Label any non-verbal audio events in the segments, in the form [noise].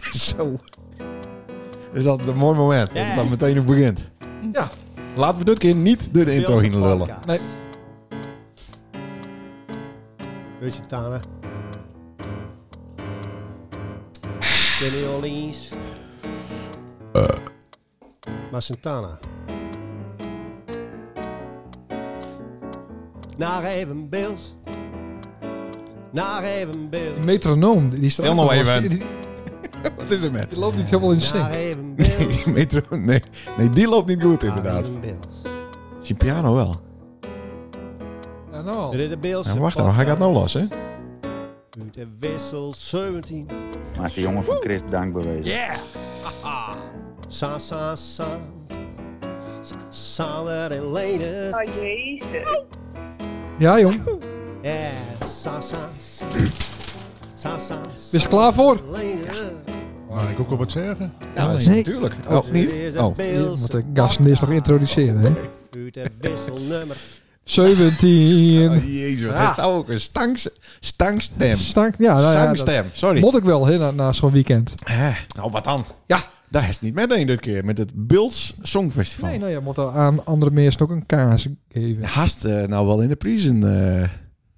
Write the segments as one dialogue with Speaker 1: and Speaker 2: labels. Speaker 1: [laughs] Zo.
Speaker 2: Is dat een mooi moment? Dat
Speaker 3: Ja.
Speaker 2: het dan meteen ook begint.
Speaker 1: Ja. Laten we dit keer niet.
Speaker 2: Door de intro heen lullen.
Speaker 1: Nee.
Speaker 3: Weet je, Tana? Kenny Orleans.
Speaker 2: Eh.
Speaker 3: Maar Santana. Naar even Bills. Naar even Bills.
Speaker 1: Metronoom. Die staat
Speaker 2: Stil nou
Speaker 1: er wel.
Speaker 2: even.
Speaker 1: Die, die-
Speaker 2: Wat is er met?
Speaker 1: die loopt niet helemaal in de
Speaker 3: Naar
Speaker 1: zin.
Speaker 3: even
Speaker 2: Nee,
Speaker 3: Bills.
Speaker 2: [laughs] die metro, nee, nee, die loopt niet goed [laughs]
Speaker 3: Naar
Speaker 1: Ah,
Speaker 2: inderdaad. Oh.
Speaker 3: even Bills.
Speaker 2: Zijn piano wel.
Speaker 1: Ja, nou al.
Speaker 3: Dit is de Bills.
Speaker 2: Nou, wacht even, hij gaat nou los, hè?
Speaker 3: Uit de wissel 17.
Speaker 4: Maak de jongen van Chris dankbewezen.
Speaker 3: Sa, sa, sa. Sa- Sander en Lenus.
Speaker 5: Oh jezus.
Speaker 1: Ja, jong.
Speaker 3: Ja, sa, sa, sa. Sa, sa, sa.
Speaker 1: Is er klaar voor?
Speaker 6: Mag ik ook wel wat zeggen?
Speaker 2: Ja,
Speaker 1: nee.
Speaker 2: natuurlijk. Oh, niet? Oh,
Speaker 1: Want de gasten is toch introduceren, hè?
Speaker 3: Uit de wisselnummer.
Speaker 2: Oh,
Speaker 1: 17.
Speaker 2: jezus, wat
Speaker 1: Ja.
Speaker 2: is dat ook? Een stanks, stankstem.
Speaker 1: Stank. Ja, nou ja, dat
Speaker 2: Stangstem, sorry.
Speaker 1: mot ik wel, hè, na, na zo'n weekend.
Speaker 2: Hè, Nou, wat dan?
Speaker 1: Ja.
Speaker 2: Daar is het niet meteen dit keer, met het Bills Songfestival.
Speaker 1: Nee, nou ja, moet aan andere mensen ook een kaas geven.
Speaker 2: Haast eh, nou wel in de prijzen eh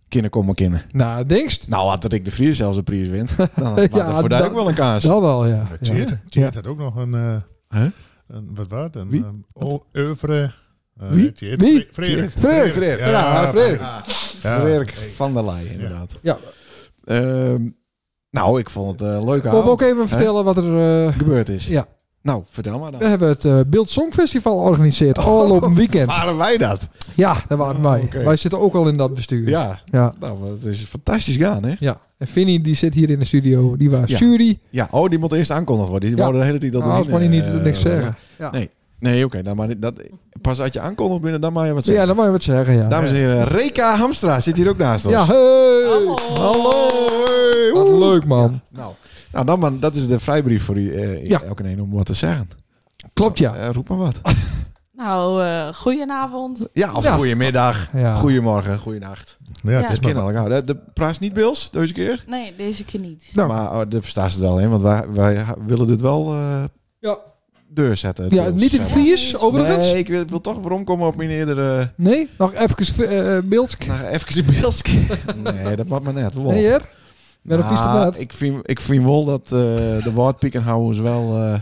Speaker 2: kunnen komen kennen.
Speaker 1: Nou, denkst?
Speaker 2: Nou, had Rick de Vries zelfs een prijs wint, [laughs] dan had er
Speaker 1: Ja,
Speaker 2: voor
Speaker 1: dat-
Speaker 2: daar ook wel een kaas.
Speaker 1: Dat wel, ja.
Speaker 6: Ja,
Speaker 1: ja.
Speaker 6: Eh, Tjeerd
Speaker 1: Ja.
Speaker 6: Tjeerd had ook nog een... eh,
Speaker 2: Huh?
Speaker 6: een wat was het? Een,
Speaker 2: Wie?
Speaker 6: een o- oeuvre... eh,
Speaker 2: Wie?
Speaker 6: Tjeerd.
Speaker 1: Wie?
Speaker 6: Frederik.
Speaker 1: Frederik. Ja, Frederik.
Speaker 6: Ja.
Speaker 2: Frederik van der Leyen, inderdaad.
Speaker 1: Ja.
Speaker 2: Ehm, nou, ik vond het eh leuk
Speaker 1: Wil ik ook
Speaker 2: avond
Speaker 1: even vertellen wat er... eh,
Speaker 2: gebeurd is.
Speaker 1: Ja.
Speaker 2: Nou, vertel maar dan.
Speaker 1: we hebben het eh Beeld Songfestival georganiseerd.
Speaker 2: Oh.
Speaker 1: Al op een
Speaker 2: [laughs]
Speaker 1: weekend.
Speaker 2: Waren wij dat?
Speaker 1: Ja, daar waren wij.
Speaker 2: Oh, oké.
Speaker 1: Wij zitten ook al in dat bestuur.
Speaker 2: Ja.
Speaker 1: Ja.
Speaker 2: Nou, het is fantastisch gaan, hè?
Speaker 1: Ja. En Vinnie, die zit hier in de studio. Die was
Speaker 2: Ja.
Speaker 1: jury.
Speaker 2: Ja, oh, die moet eerst aankondigd worden. Die
Speaker 1: Ja.
Speaker 2: wouden de hele tijd dat
Speaker 1: Nou,
Speaker 2: doen.
Speaker 1: als maar niet
Speaker 2: eh,
Speaker 1: niks zeggen. Ja.
Speaker 2: Nee, nee oké. nou, maar dat, pas als je aankondigt binnen, dan mag je wat
Speaker 1: Ja,
Speaker 2: zeggen.
Speaker 1: dan mag je wat zeggen, ja.
Speaker 2: Dames en heren, Reka Hamstra zit hier ook naast ons.
Speaker 1: Ja, hey!
Speaker 2: Hallo! hey,
Speaker 1: Wat
Speaker 2: woe.
Speaker 1: leuk, man.
Speaker 2: Nou, nou dan, maar, dat is de vrijbrief voor die, eh,
Speaker 1: Ja.
Speaker 2: elke een om wat te zeggen.
Speaker 1: Klopt, ja.
Speaker 2: Eh, roep maar wat.
Speaker 7: Nou, eh, goedenavond.
Speaker 2: Ja, of
Speaker 1: Ja.
Speaker 2: goedemiddag,
Speaker 1: Ja.
Speaker 2: goedemorgen, goedenacht.
Speaker 6: Ja,
Speaker 7: Ja.
Speaker 6: het
Speaker 2: Dat
Speaker 6: is maar
Speaker 2: kennen we elkaar. De, de prijs niet, Bils, deze keer.
Speaker 7: Nee, deze keer niet.
Speaker 1: Nou,
Speaker 2: Maar oh, daar verstaan ze het wel in, want wij, wij ha- willen dit wel eh
Speaker 1: ja.
Speaker 2: deur zetten.
Speaker 1: ja
Speaker 2: Bils,
Speaker 1: niet in
Speaker 2: zeg
Speaker 1: het
Speaker 2: maar.
Speaker 1: Fries, overigens.
Speaker 2: Nee, ik wil, ik wil toch weer omkomen op mijn eerdere...
Speaker 1: Nee? Nog even eh beeld.
Speaker 2: Nou, even in Bilsk.
Speaker 1: [laughs]
Speaker 2: nee, dat mag maar net. Wow.
Speaker 1: Nee, hè? Met een
Speaker 2: Nou,
Speaker 1: vies inderdaad.
Speaker 2: ik vind, ik vind wel dat eh de woordpiekenhouders wel eh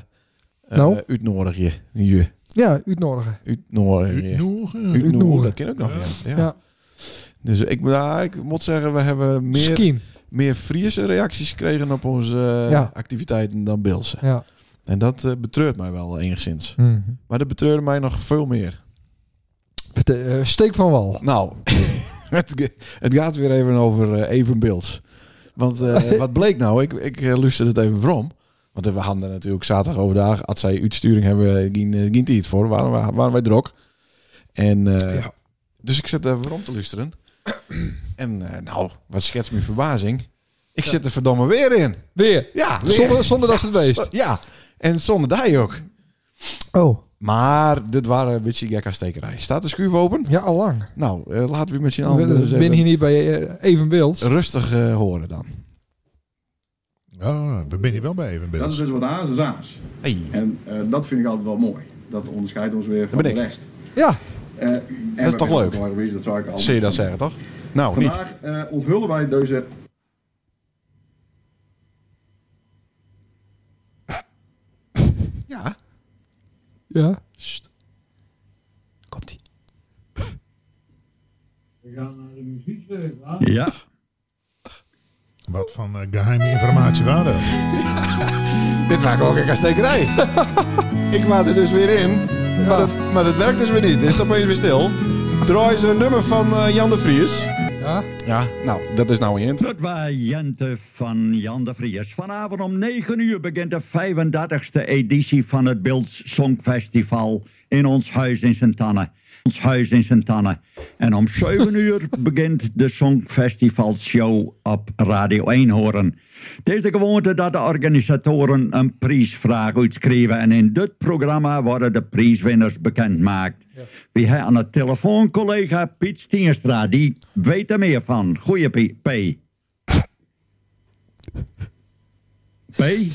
Speaker 2: eh,
Speaker 1: Nou?
Speaker 2: uitnodigen. Je. je.
Speaker 1: Ja, uitnodigen.
Speaker 2: Uitnodigen. je.
Speaker 6: Uitnoegen.
Speaker 2: Uitnodigen.
Speaker 1: Uitnodigen.
Speaker 2: Dat ken ik nog. Ja. Ja.
Speaker 1: Ja.
Speaker 2: Dus ik, nou, ik moet zeggen, we hebben meer,
Speaker 1: Scheme.
Speaker 2: meer Friese reacties gekregen op onze eh,
Speaker 1: Ja.
Speaker 2: activiteiten dan Bilse.
Speaker 1: Ja.
Speaker 2: En dat eh, betreurt mij wel enigszins.
Speaker 1: Mhm.
Speaker 2: Maar dat betreurde mij nog veel meer.
Speaker 1: Verte- eh, steek van wal.
Speaker 2: Nou, [laughs] het, ge- het gaat weer even over eh even beelds. Want
Speaker 1: [laughs]
Speaker 2: eh, wat bleek nou? Ik, ik eh, luisterde het even vrom. Want we hadden natuurlijk zaterdag overdag, als zij uitsturing hebben, ging, eh, ging die het voor. Waren, we- waren wij drok. En, eh,
Speaker 1: Ja.
Speaker 2: Dus ik zit even rond te luisteren. en eh, nou, wat schetst mijn verbazing. Ik zit er verdomme weer in.
Speaker 1: Weer.
Speaker 2: Ja, weer.
Speaker 1: Zonder, zonder dat ze het
Speaker 2: Zo-
Speaker 1: weest.
Speaker 2: Ja, en zonder die ook.
Speaker 1: Oh,
Speaker 2: Maar dit waren een beetje gekka stekerij. Staat de schuif open?
Speaker 1: ja, allang.
Speaker 2: Nou, eh, laten we met z'n
Speaker 1: Ik
Speaker 2: allen eens
Speaker 1: ben
Speaker 2: even
Speaker 1: hier niet bij eh, Even Beeld.
Speaker 2: rustig eh, horen dan.
Speaker 6: Ja, we zijn hier wel bij even
Speaker 8: Dat is
Speaker 6: beeld.
Speaker 8: dus wat aas is aas.
Speaker 2: Hey.
Speaker 8: En eh, dat vind ik altijd wel mooi. Dat onderscheidt ons weer van
Speaker 2: Ben
Speaker 8: de
Speaker 2: ik.
Speaker 8: rest.
Speaker 1: Ja.
Speaker 8: Eh, en we
Speaker 2: toch
Speaker 8: kunnen
Speaker 2: leuk?
Speaker 8: ook wel wezen, Dat zou ik altijd
Speaker 2: Zie je dat
Speaker 8: doen.
Speaker 2: zeggen, toch? Nou, niet.
Speaker 8: Vandaag eh, onthullen wij deze...
Speaker 2: Ja.
Speaker 1: Ja.
Speaker 2: Komt-ie.
Speaker 8: Ja.
Speaker 6: Wat van eh, geheime informatie waren dat?
Speaker 2: Dit maakt ook een stekerij. [laughs] ik maak er dus weer in. Maar, dat, maar dat werkt dus weer niet. Is het opeens weer stil? Draai ze een nummer van eh, Jan de Vries.
Speaker 1: Ja.
Speaker 2: Ja, nou, dat is nou in.
Speaker 9: Het variënten van Jan de Vries. Vanavond om 9 uur begint de 35e editie van het Beelds Songfestival in ons huis in Sint-Anne. Ons huis in Sint-Anne. En om 7 uur begint de Songfestival Show op Radio 1 horen. Het is de gewoonte dat de organisatoren een prijsvraag uitschrijven. En in dit programma worden de prijswinners bekendmaakt. Wie hij aan de telefoon collega Piet Stienstra, die weet er meer van. Goeie Piet. P. P. [laughs]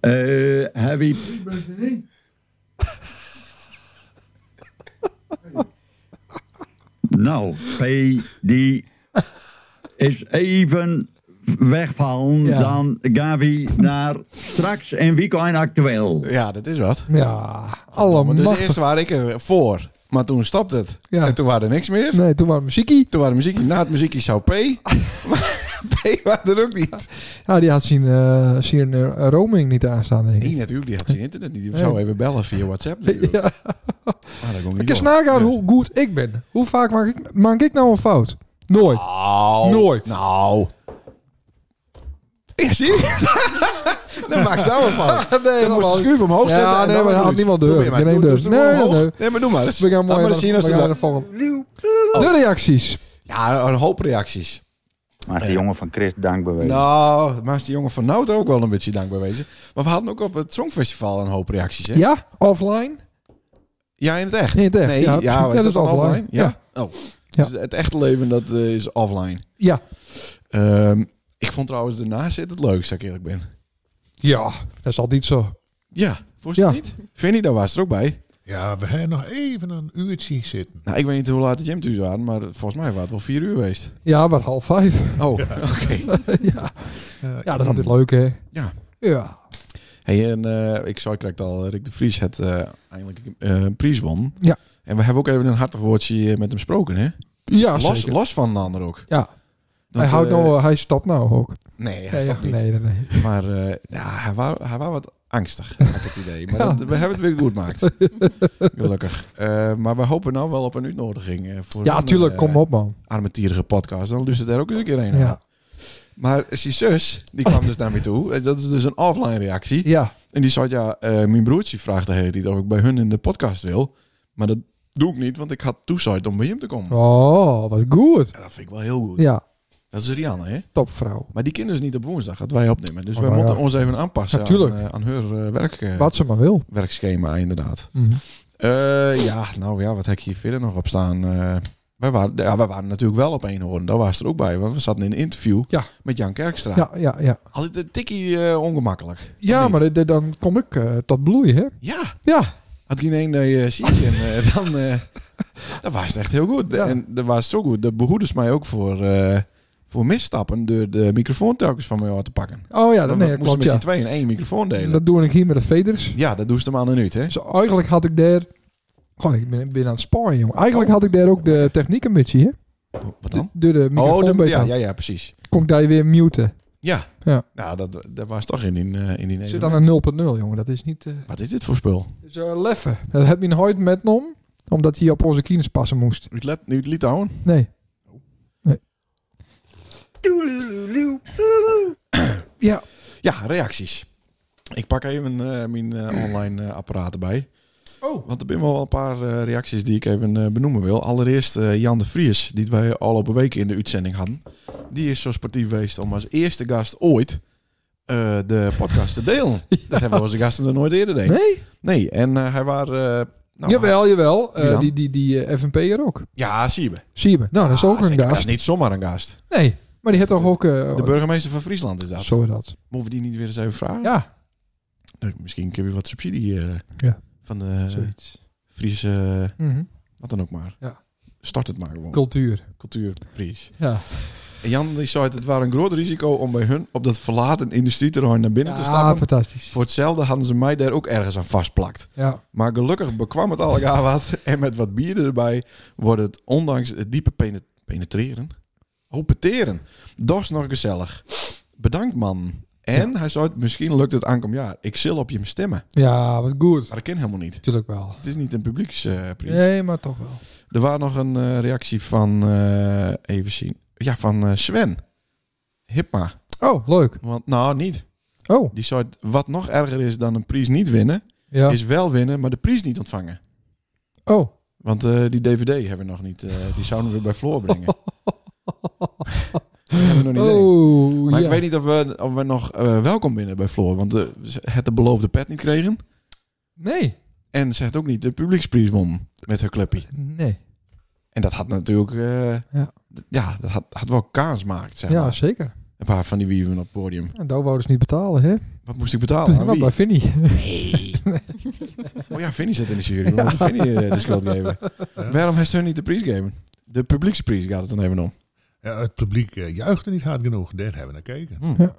Speaker 9: Eh heavy... [laughs] nou, P, die is even wegvallen
Speaker 1: Ja.
Speaker 9: dan Gavi naar straks en weekend actueel.
Speaker 2: Ja, dat is wat.
Speaker 1: Ja,
Speaker 2: Maar dus
Speaker 1: allemachtig.
Speaker 2: eerst waren ik er voor, maar toen stopte het.
Speaker 1: Ja.
Speaker 2: En toen waren er niks meer.
Speaker 1: Nee, toen waren muziekie.
Speaker 2: Toen waren muziekje, na het muziekje zou
Speaker 1: [laughs]
Speaker 2: P. Maar P waren er ook niet.
Speaker 1: Nou, die had zijn, eh, zijn eh, roaming niet aanstaan, denk ik.
Speaker 2: Nee, natuurlijk, die had zijn internet niet. Die zou even bellen via WhatsApp. natuurlijk.
Speaker 1: Ja.
Speaker 2: Maar dat kon niet
Speaker 1: Ik eens
Speaker 2: door.
Speaker 1: nagaan
Speaker 2: Ja.
Speaker 1: hoe goed ik ben. Hoe vaak maak ik, maak ik nou een fout? Nooit.
Speaker 2: Nou,
Speaker 1: Nooit.
Speaker 2: Nou. Ja, zie je? [laughs] Dan maak je nou een fout.
Speaker 1: [laughs] nee,
Speaker 2: Dan moest de schuif
Speaker 1: Ja,
Speaker 2: omhoog zetten. en
Speaker 1: nee,
Speaker 2: dan
Speaker 1: maar dat had
Speaker 2: doe je het.
Speaker 1: niemand door.
Speaker 2: Probeer maar.
Speaker 1: Geen
Speaker 2: Doe- dus
Speaker 1: één
Speaker 2: doe
Speaker 1: door.
Speaker 2: het
Speaker 1: Nee,
Speaker 2: omhoog.
Speaker 1: nee, nee.
Speaker 2: Nee, maar doe maar eens.
Speaker 1: We gaan
Speaker 2: Laat
Speaker 1: mooi
Speaker 2: maar
Speaker 1: naar
Speaker 2: eens zien als
Speaker 1: we
Speaker 2: het
Speaker 1: gaan naar de
Speaker 2: lukt.
Speaker 1: volgende. De reacties.
Speaker 2: Ja, een hoop reacties.
Speaker 4: Maak die jongen van Chris dankbewezen.
Speaker 2: Nou, maar is die jongen van Nout ook wel een beetje dankbaar wezen. Maar we hadden ook op het Songfestival een hoop reacties, hè?
Speaker 1: Ja, offline.
Speaker 2: Ja, in het echt.
Speaker 1: In het echt,
Speaker 2: Nee,
Speaker 1: ja.
Speaker 2: ja,
Speaker 1: Ja, dat
Speaker 2: was dat
Speaker 1: is
Speaker 2: dan
Speaker 1: offline.
Speaker 2: Ja. Oh.
Speaker 1: Ja.
Speaker 2: Dus het echte leven, dat eh, is offline.
Speaker 1: Ja.
Speaker 2: Ehm, ik vond trouwens daarna zit het leukst, als ik eerlijk ben.
Speaker 1: Ja, dat is altijd zo.
Speaker 2: Ja, vond je het
Speaker 1: Ja.
Speaker 2: niet? Vinnie, daar was er ook bij.
Speaker 6: Ja, we hebben nog even een uurtje zitten.
Speaker 2: Nou, ik weet niet hoe laat de gym thuis waren, maar volgens mij was het wel vier uur geweest.
Speaker 1: Ja, maar half vijf. [laughs]
Speaker 2: Oh, [laughs] oké.
Speaker 6: Eh,
Speaker 1: Ja, dat is altijd leuk, hè?
Speaker 2: Ja.
Speaker 1: Ja.
Speaker 2: Hey, en eh, ik zag direct al, Rick de Vries het eh, eindelijk eh, een prijs won.
Speaker 1: Ja.
Speaker 2: En we hebben ook even een hartig woordje eh, met hem gesproken, hè?
Speaker 1: Ja,
Speaker 2: los,
Speaker 1: zeker.
Speaker 2: los van de ander ook.
Speaker 1: Ja.
Speaker 2: Dat,
Speaker 1: hij, houdt
Speaker 2: eh,
Speaker 1: nou, hij stopt nou ook.
Speaker 2: Nee, hij
Speaker 1: Nee,
Speaker 2: stopt niet.
Speaker 1: nee, nee, nee.
Speaker 2: Maar eh, ja, hij was hij wou wat angstig, had ik het idee.
Speaker 1: [laughs]
Speaker 2: Maar
Speaker 1: Ja.
Speaker 2: dat- we hebben het weer goed gemaakt.
Speaker 1: [laughs]
Speaker 2: Gelukkig. Eh, maar we hopen nou wel op een uitnodiging. eh, voor
Speaker 1: Ja,
Speaker 2: een,
Speaker 1: tuurlijk.
Speaker 2: eh,
Speaker 1: Kom op, man.
Speaker 2: Armetierige podcast. Dan luistert er ook eens een keer een.
Speaker 1: Ja.
Speaker 2: Maar zijn zus, die kwam dus naar me toe. Eh, Dat is dus een offline reactie.
Speaker 1: Ja.
Speaker 2: En die zei, ja, eh, mijn broertje vraagt de hele tijd of ik bij hun in de podcast wil. Maar dat doe ik niet, want ik had toezaaid om bij hem te komen.
Speaker 1: Oh, wat goed.
Speaker 2: Ja, dat vind ik wel heel goed.
Speaker 1: Ja,
Speaker 2: Dat is Rianne, hè?
Speaker 1: topvrouw.
Speaker 2: Maar die kinderen dus niet op woensdag, dat wij opnemen. Dus
Speaker 1: Oh,
Speaker 2: wij
Speaker 1: nou
Speaker 2: moeten
Speaker 1: ja.
Speaker 2: ons even aanpassen
Speaker 1: Ja, tuurlijk.
Speaker 2: aan, eh, aan haar eh, werk, eh,
Speaker 1: Wat ze maar wil.
Speaker 2: werkschema, inderdaad.
Speaker 1: Mhm.
Speaker 2: Eh, ja, nou ja, wat heb ik hier verder nog op staan? Eh, wij, waren, ja, wij waren natuurlijk wel op Eenhoorn. Daar was er ook bij. Want we zaten in een interview
Speaker 1: Ja.
Speaker 2: met Jan Kerkstra.
Speaker 1: Ja, ja, ja.
Speaker 2: Altijd een tikkie eh, ongemakkelijk. Of
Speaker 1: Ja,
Speaker 2: niet?
Speaker 1: maar dit- dit- dan kom ik eh, tot bloei, hè?
Speaker 2: Ja,
Speaker 1: Ja.
Speaker 2: had geen één dat je ziet. En eh, [laughs] dan... eh, dat was het echt heel goed.
Speaker 1: Ja.
Speaker 2: En dat was zo goed. Dat behoeders mij ook voor, eh, voor misstappen... door de microfoon telkens van mij uit te pakken.
Speaker 1: Oh ja, dat, nee, dat
Speaker 2: Want we moesten
Speaker 1: klopt,
Speaker 2: met z'n
Speaker 1: ja.
Speaker 2: tweeën één microfoon delen.
Speaker 1: Dat doe ik hier met de veders.
Speaker 2: Ja, dat doe ze maar aan een uur, hè?
Speaker 1: Dus eigenlijk had ik daar... Goh, ik ben, ben aan het sparen, jongen. Eigenlijk had ik daar ook de techniek een beetje, hè?
Speaker 2: Wat dan?
Speaker 1: Door de microfoon
Speaker 2: oh, de,
Speaker 1: beter
Speaker 2: ja,
Speaker 1: aan.
Speaker 2: ja, ja, precies.
Speaker 1: Kon ik daar weer muten.
Speaker 2: Ja.
Speaker 1: Ja.
Speaker 2: Nou, dat, dat was toch in die... eh, in die
Speaker 1: Zit dan een 0.0, jongen. Dat is niet... eh
Speaker 2: Wat is dit voor spul?
Speaker 1: Dus eh, leffen. Dat heb je nooit metnom, omdat hij op onze kines passen moest.
Speaker 2: Uit, Let, uit Litouwen?
Speaker 1: Nee. Nee. Ja.
Speaker 2: Ja, reacties. Ik pak even eh, mijn eh, online eh, apparaat erbij.
Speaker 1: Oh.
Speaker 2: Want er zijn wel een paar eh, reacties die ik even eh, benoemen wil. Allereerst eh, Jan de Vries, die wij al op een week in de uitzending hadden. Die is zo sportief geweest om als eerste gast ooit eh, de podcast te delen.
Speaker 1: [laughs]
Speaker 2: Dat hebben onze gasten er nooit eerder deed.
Speaker 1: Nee?
Speaker 2: Nee, en eh, hij was... eh, nou,
Speaker 1: jawel, jawel. Eh,
Speaker 2: Wie dan?
Speaker 1: die die, die eh, FNP'er ook.
Speaker 2: Ja, zie je. me.
Speaker 1: Zie je me. Nou, dat is ook
Speaker 2: Ah,
Speaker 1: een
Speaker 2: zeker. Dat is
Speaker 1: gast.
Speaker 2: niet zomaar een gast.
Speaker 1: Nee, maar die heeft toch ook... eh
Speaker 2: De burgemeester van Friesland is dat.
Speaker 1: Zo is dat.
Speaker 2: Moeten we die niet weer eens even vragen?
Speaker 1: Ja,
Speaker 2: Nou, Misschien kunnen we wat subsidie eh,
Speaker 1: Ja.
Speaker 2: van de
Speaker 1: zoiets.
Speaker 2: Friese, eh,
Speaker 1: Mhm.
Speaker 2: wat dan ook maar.
Speaker 1: Ja.
Speaker 2: Start het maar gewoon.
Speaker 1: Cultuur.
Speaker 2: Cultuurprijs.
Speaker 1: Ja.
Speaker 2: En Jan die zei, het was een groot risico om bij hun op dat verlaten industrieterrein naar binnen te
Speaker 1: Ja,
Speaker 2: stappen.
Speaker 1: fantastisch.
Speaker 2: Voor hetzelfde hadden ze mij daar ook ergens aan vastplakt.
Speaker 1: Ja.
Speaker 2: Maar gelukkig bekwam het al elkaar wat. En met wat bier erbij wordt het ondanks het diepe pene- penetreren... Oh, peteren. Dat is nog gezellig. Bedankt, man. En hij zei, misschien lukt het aankomend jaar. Ik zal op je stemmen.
Speaker 1: ja, wat goed.
Speaker 2: Maar dat ken helemaal niet.
Speaker 1: Natuurlijk wel.
Speaker 2: Het is niet een publieksprijs.
Speaker 1: Nee, maar toch wel.
Speaker 2: Er was nog een eh, reactie van, eh, even zien, ja, van eh, Sven. Hipma.
Speaker 1: Oh, leuk.
Speaker 2: Want, nou, niet.
Speaker 1: Oh,
Speaker 2: Die zei, wat nog erger is dan een prijs niet winnen,
Speaker 1: ja.
Speaker 2: is wel winnen, maar de prijs niet ontvangen.
Speaker 1: Oh.
Speaker 2: Want eh, die DVD hebben we nog niet. eh, die zouden we bij
Speaker 1: [laughs]
Speaker 2: Floor brengen. Dat hebben we nog niet gedaan.
Speaker 1: Oh,
Speaker 2: Maar
Speaker 1: ja.
Speaker 2: ik weet niet of we, of we nog eh, welkom binnen bij Floor. Want eh, ze het de beloofde pet niet kregen.
Speaker 1: Nee.
Speaker 2: En ze het ook niet de publieksprijs won met haar clubje.
Speaker 1: Nee.
Speaker 2: En dat had natuurlijk... eh,
Speaker 1: Ja.
Speaker 2: d- ja, dat had, had wel kaas gemaakt, zeg
Speaker 1: Ja,
Speaker 2: maar.
Speaker 1: zeker.
Speaker 2: Een paar van die wieven op het podium.
Speaker 1: En daar wouden ze niet betalen, hè?
Speaker 2: Wat moest ik
Speaker 1: [laughs]
Speaker 2: betalen? Aan
Speaker 1: maar bij
Speaker 2: Oh, wie?
Speaker 1: Vinnie. [laughs]
Speaker 2: Oh ja, Vinnie zit in de jury. We moeten Vinnie eh, de schuld geven.
Speaker 6: eh,
Speaker 2: Waarom heeft ze hun niet de prijs gegeven? De publieksprijs gaat het dan even om.
Speaker 6: Ja, het publiek eh, juichte niet hard genoeg. Daar hebben we naar gekeken.
Speaker 2: Hm. En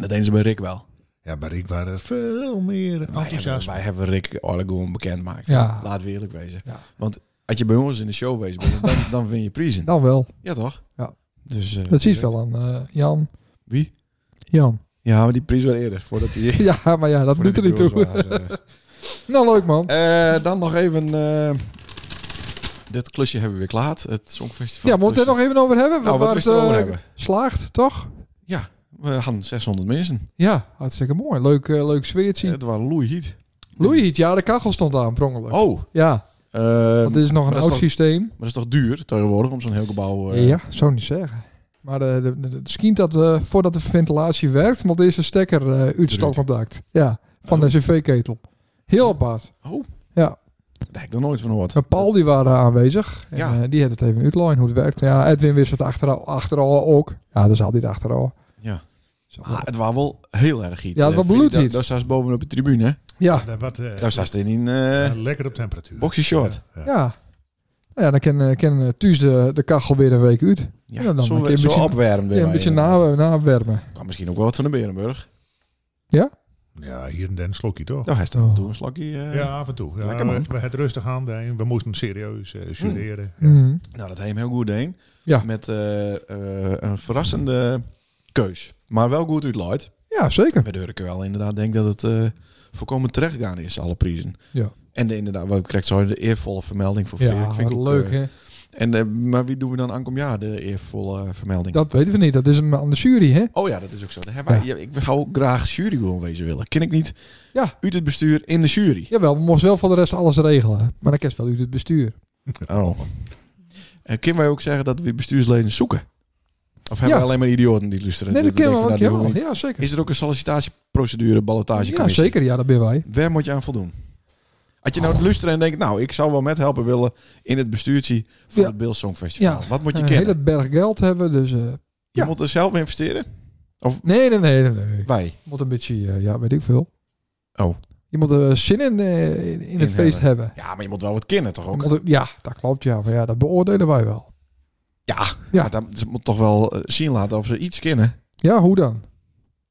Speaker 2: dat deden ze bij Rick wel.
Speaker 6: Ja, maar ik waren veel meer
Speaker 2: Nou, Wij hebben,
Speaker 6: enthousiast.
Speaker 2: wij hebben Rick Orlegoen bekendgemaakt.
Speaker 1: Ja.
Speaker 2: Laten we eerlijk wezen.
Speaker 1: Ja.
Speaker 2: Want als je bij ons in de show geweest bent, dan,
Speaker 1: [laughs]
Speaker 2: dan win je prijzen.
Speaker 1: Dan Nou wel.
Speaker 2: Ja, toch?
Speaker 1: Ja.
Speaker 2: Dus, eh,
Speaker 1: Dat zie je wel aan eh, Jan.
Speaker 2: Wie?
Speaker 1: Jan.
Speaker 2: Ja, maar die prijs was eerder. Voordat die,
Speaker 1: [laughs] Ja, maar ja, dat
Speaker 2: voordat
Speaker 1: doet er
Speaker 2: die
Speaker 1: niet toe.
Speaker 2: door was, waren, eh.
Speaker 1: Nou, leuk man.
Speaker 2: Eh, dan nog even... eh, dit klusje hebben we weer klaar. Het Songfestival.
Speaker 1: Ja, moeten we het er nog
Speaker 2: klusje.
Speaker 1: even over hebben?
Speaker 2: Nou, wat
Speaker 1: Waar
Speaker 2: we het
Speaker 1: het,
Speaker 2: erover
Speaker 1: eh,
Speaker 2: hebben.
Speaker 1: Slaagt, toch?
Speaker 2: We hadden 600 mensen.
Speaker 1: Ja, hartstikke mooi. Leuk, eh, leuk sfeertje.
Speaker 2: Het waren loeihiet.
Speaker 1: Louis, ja, de kachel stond aan, per ongeluk.
Speaker 2: Oh,
Speaker 1: Ja,
Speaker 2: eh,
Speaker 1: want dit is nog een
Speaker 2: dat is
Speaker 1: oud
Speaker 2: toch-
Speaker 1: systeem.
Speaker 2: maar dat is toch duur tegenwoordig om zo'n heel gebouw... eh,
Speaker 1: ja, zou niet zeggen. Maar de, de, de, de- misschien dat eh, voordat de ventilatie werkt, moet deze stekker eh uit stopcontact. Ja, van
Speaker 2: Oh.
Speaker 1: de cv-ketel. Heel apart.
Speaker 2: Daar heb ik nog nooit van gehoord.
Speaker 1: En Paul die waren aanwezig. En,
Speaker 2: Ja.
Speaker 1: eh, die had het even uitlijn hoe het werkt. Ja, Edwin wist het achteraf, achteraf ook. Ja, dat is altijd achteraf.
Speaker 2: Ja.
Speaker 1: Zo.
Speaker 2: Ah, het was wel heel erg giet.
Speaker 1: Ja, het was bloedhiet.
Speaker 2: Daar staat bovenop de tribune. hè?
Speaker 1: Ja,
Speaker 6: Daar wat, eh,
Speaker 2: Daar staat in een eh,
Speaker 6: eh, lekker op temperatuur.
Speaker 2: boxershort.
Speaker 6: Ja, ja.
Speaker 1: ja. Nou ja, dan kan, eh, kan eh, Thuis de, de kachel weer een week uit.
Speaker 2: Ja,
Speaker 1: Ja, dan
Speaker 2: zo,
Speaker 1: een keer
Speaker 2: zo
Speaker 1: misschien-
Speaker 2: opwarmen
Speaker 1: Ja,
Speaker 2: weer
Speaker 1: een
Speaker 2: maar
Speaker 1: beetje
Speaker 2: inderdaad.
Speaker 1: na, naopwermen.
Speaker 2: Kan misschien ook wel wat van de Berenburg.
Speaker 6: Ja, hier en daar een slokje toch?
Speaker 2: Daar heeft
Speaker 1: Oh.
Speaker 2: af en toe een slokje. eh,
Speaker 6: Ja, af en toe. Ja,
Speaker 2: Lekker,
Speaker 6: we,
Speaker 2: man. Mm.
Speaker 6: we het rustig aan, Deen. we moesten serieus eh, jureren. Ja.
Speaker 1: Mhm.
Speaker 2: Nou, dat heeft hem heel goed heen.
Speaker 1: Ja.
Speaker 2: Met eh, eh, een verrassende keus. Maar wel goed uitlooid.
Speaker 1: Ja, zeker.
Speaker 2: Waardoor ik wel inderdaad denk dat het eh, voorkomen terecht gaan is, alle prijzen.
Speaker 1: Ja.
Speaker 2: En de, inderdaad, wat ik krijg zo de eervolle vermelding voor Veer.
Speaker 1: Ja,
Speaker 2: Ik vind
Speaker 1: wat
Speaker 2: ook,
Speaker 1: leuk
Speaker 2: eh,
Speaker 1: hè.
Speaker 2: en, eh, maar wie doen we dan aankomend jaar de eervolle eh, vermelding?
Speaker 1: Dat weten we niet. Dat is een aan de jury, hè?
Speaker 2: Oh ja, dat is ook zo. Daar hebben wij- ja, ik zou ook graag jury gewoon wezen willen. Ken ik niet
Speaker 1: Ja.
Speaker 2: uit het bestuur in de jury.
Speaker 1: Jawel, we moesten wel voor de rest alles regelen. Maar dan kerst wel uit het bestuur.
Speaker 2: Oh. En kunnen wij ook zeggen dat we bestuursleden zoeken? Of hebben
Speaker 1: Ja.
Speaker 2: we alleen maar idioten die luisteren?
Speaker 1: Nee, dat
Speaker 2: denk
Speaker 1: kennen
Speaker 2: ik
Speaker 1: we ook.
Speaker 2: van, nou, die
Speaker 1: Jawel.
Speaker 2: hoeven
Speaker 1: Ja, zeker.
Speaker 2: niet. Is er ook een sollicitatieprocedure,
Speaker 1: Ja,
Speaker 2: ballotagecommissie?
Speaker 1: zeker. Ja, dat ben wij.
Speaker 2: Waar moet je aan voldoen? Had je nou het luisteren en denkt, nou, ik zou wel met helpen willen in het bestuurtje van
Speaker 1: Ja.
Speaker 2: het Beeld Songfestival.
Speaker 1: Ja.
Speaker 2: Wat moet je
Speaker 1: Een
Speaker 2: kennen?
Speaker 1: hele berg geld hebben, dus... eh,
Speaker 2: Je
Speaker 1: ja.
Speaker 2: moet er zelf in investeren?
Speaker 1: nee, nee, nee, nee, nee.
Speaker 2: Wij.
Speaker 1: Moet een beetje, eh, ja, weet ik veel.
Speaker 2: Oh.
Speaker 1: Je moet er zin in, eh, in, in het
Speaker 2: In
Speaker 1: feest hebben.
Speaker 2: Ja, maar je moet wel wat kennen toch
Speaker 1: Je
Speaker 2: ook?
Speaker 1: moet er- ja, dat klopt, ja. Maar ja, dat beoordelen wij wel.
Speaker 2: Ja,
Speaker 1: Ja.
Speaker 2: maar dan ze moet toch wel eh, zien laten of ze iets kennen.
Speaker 1: Ja, hoe dan?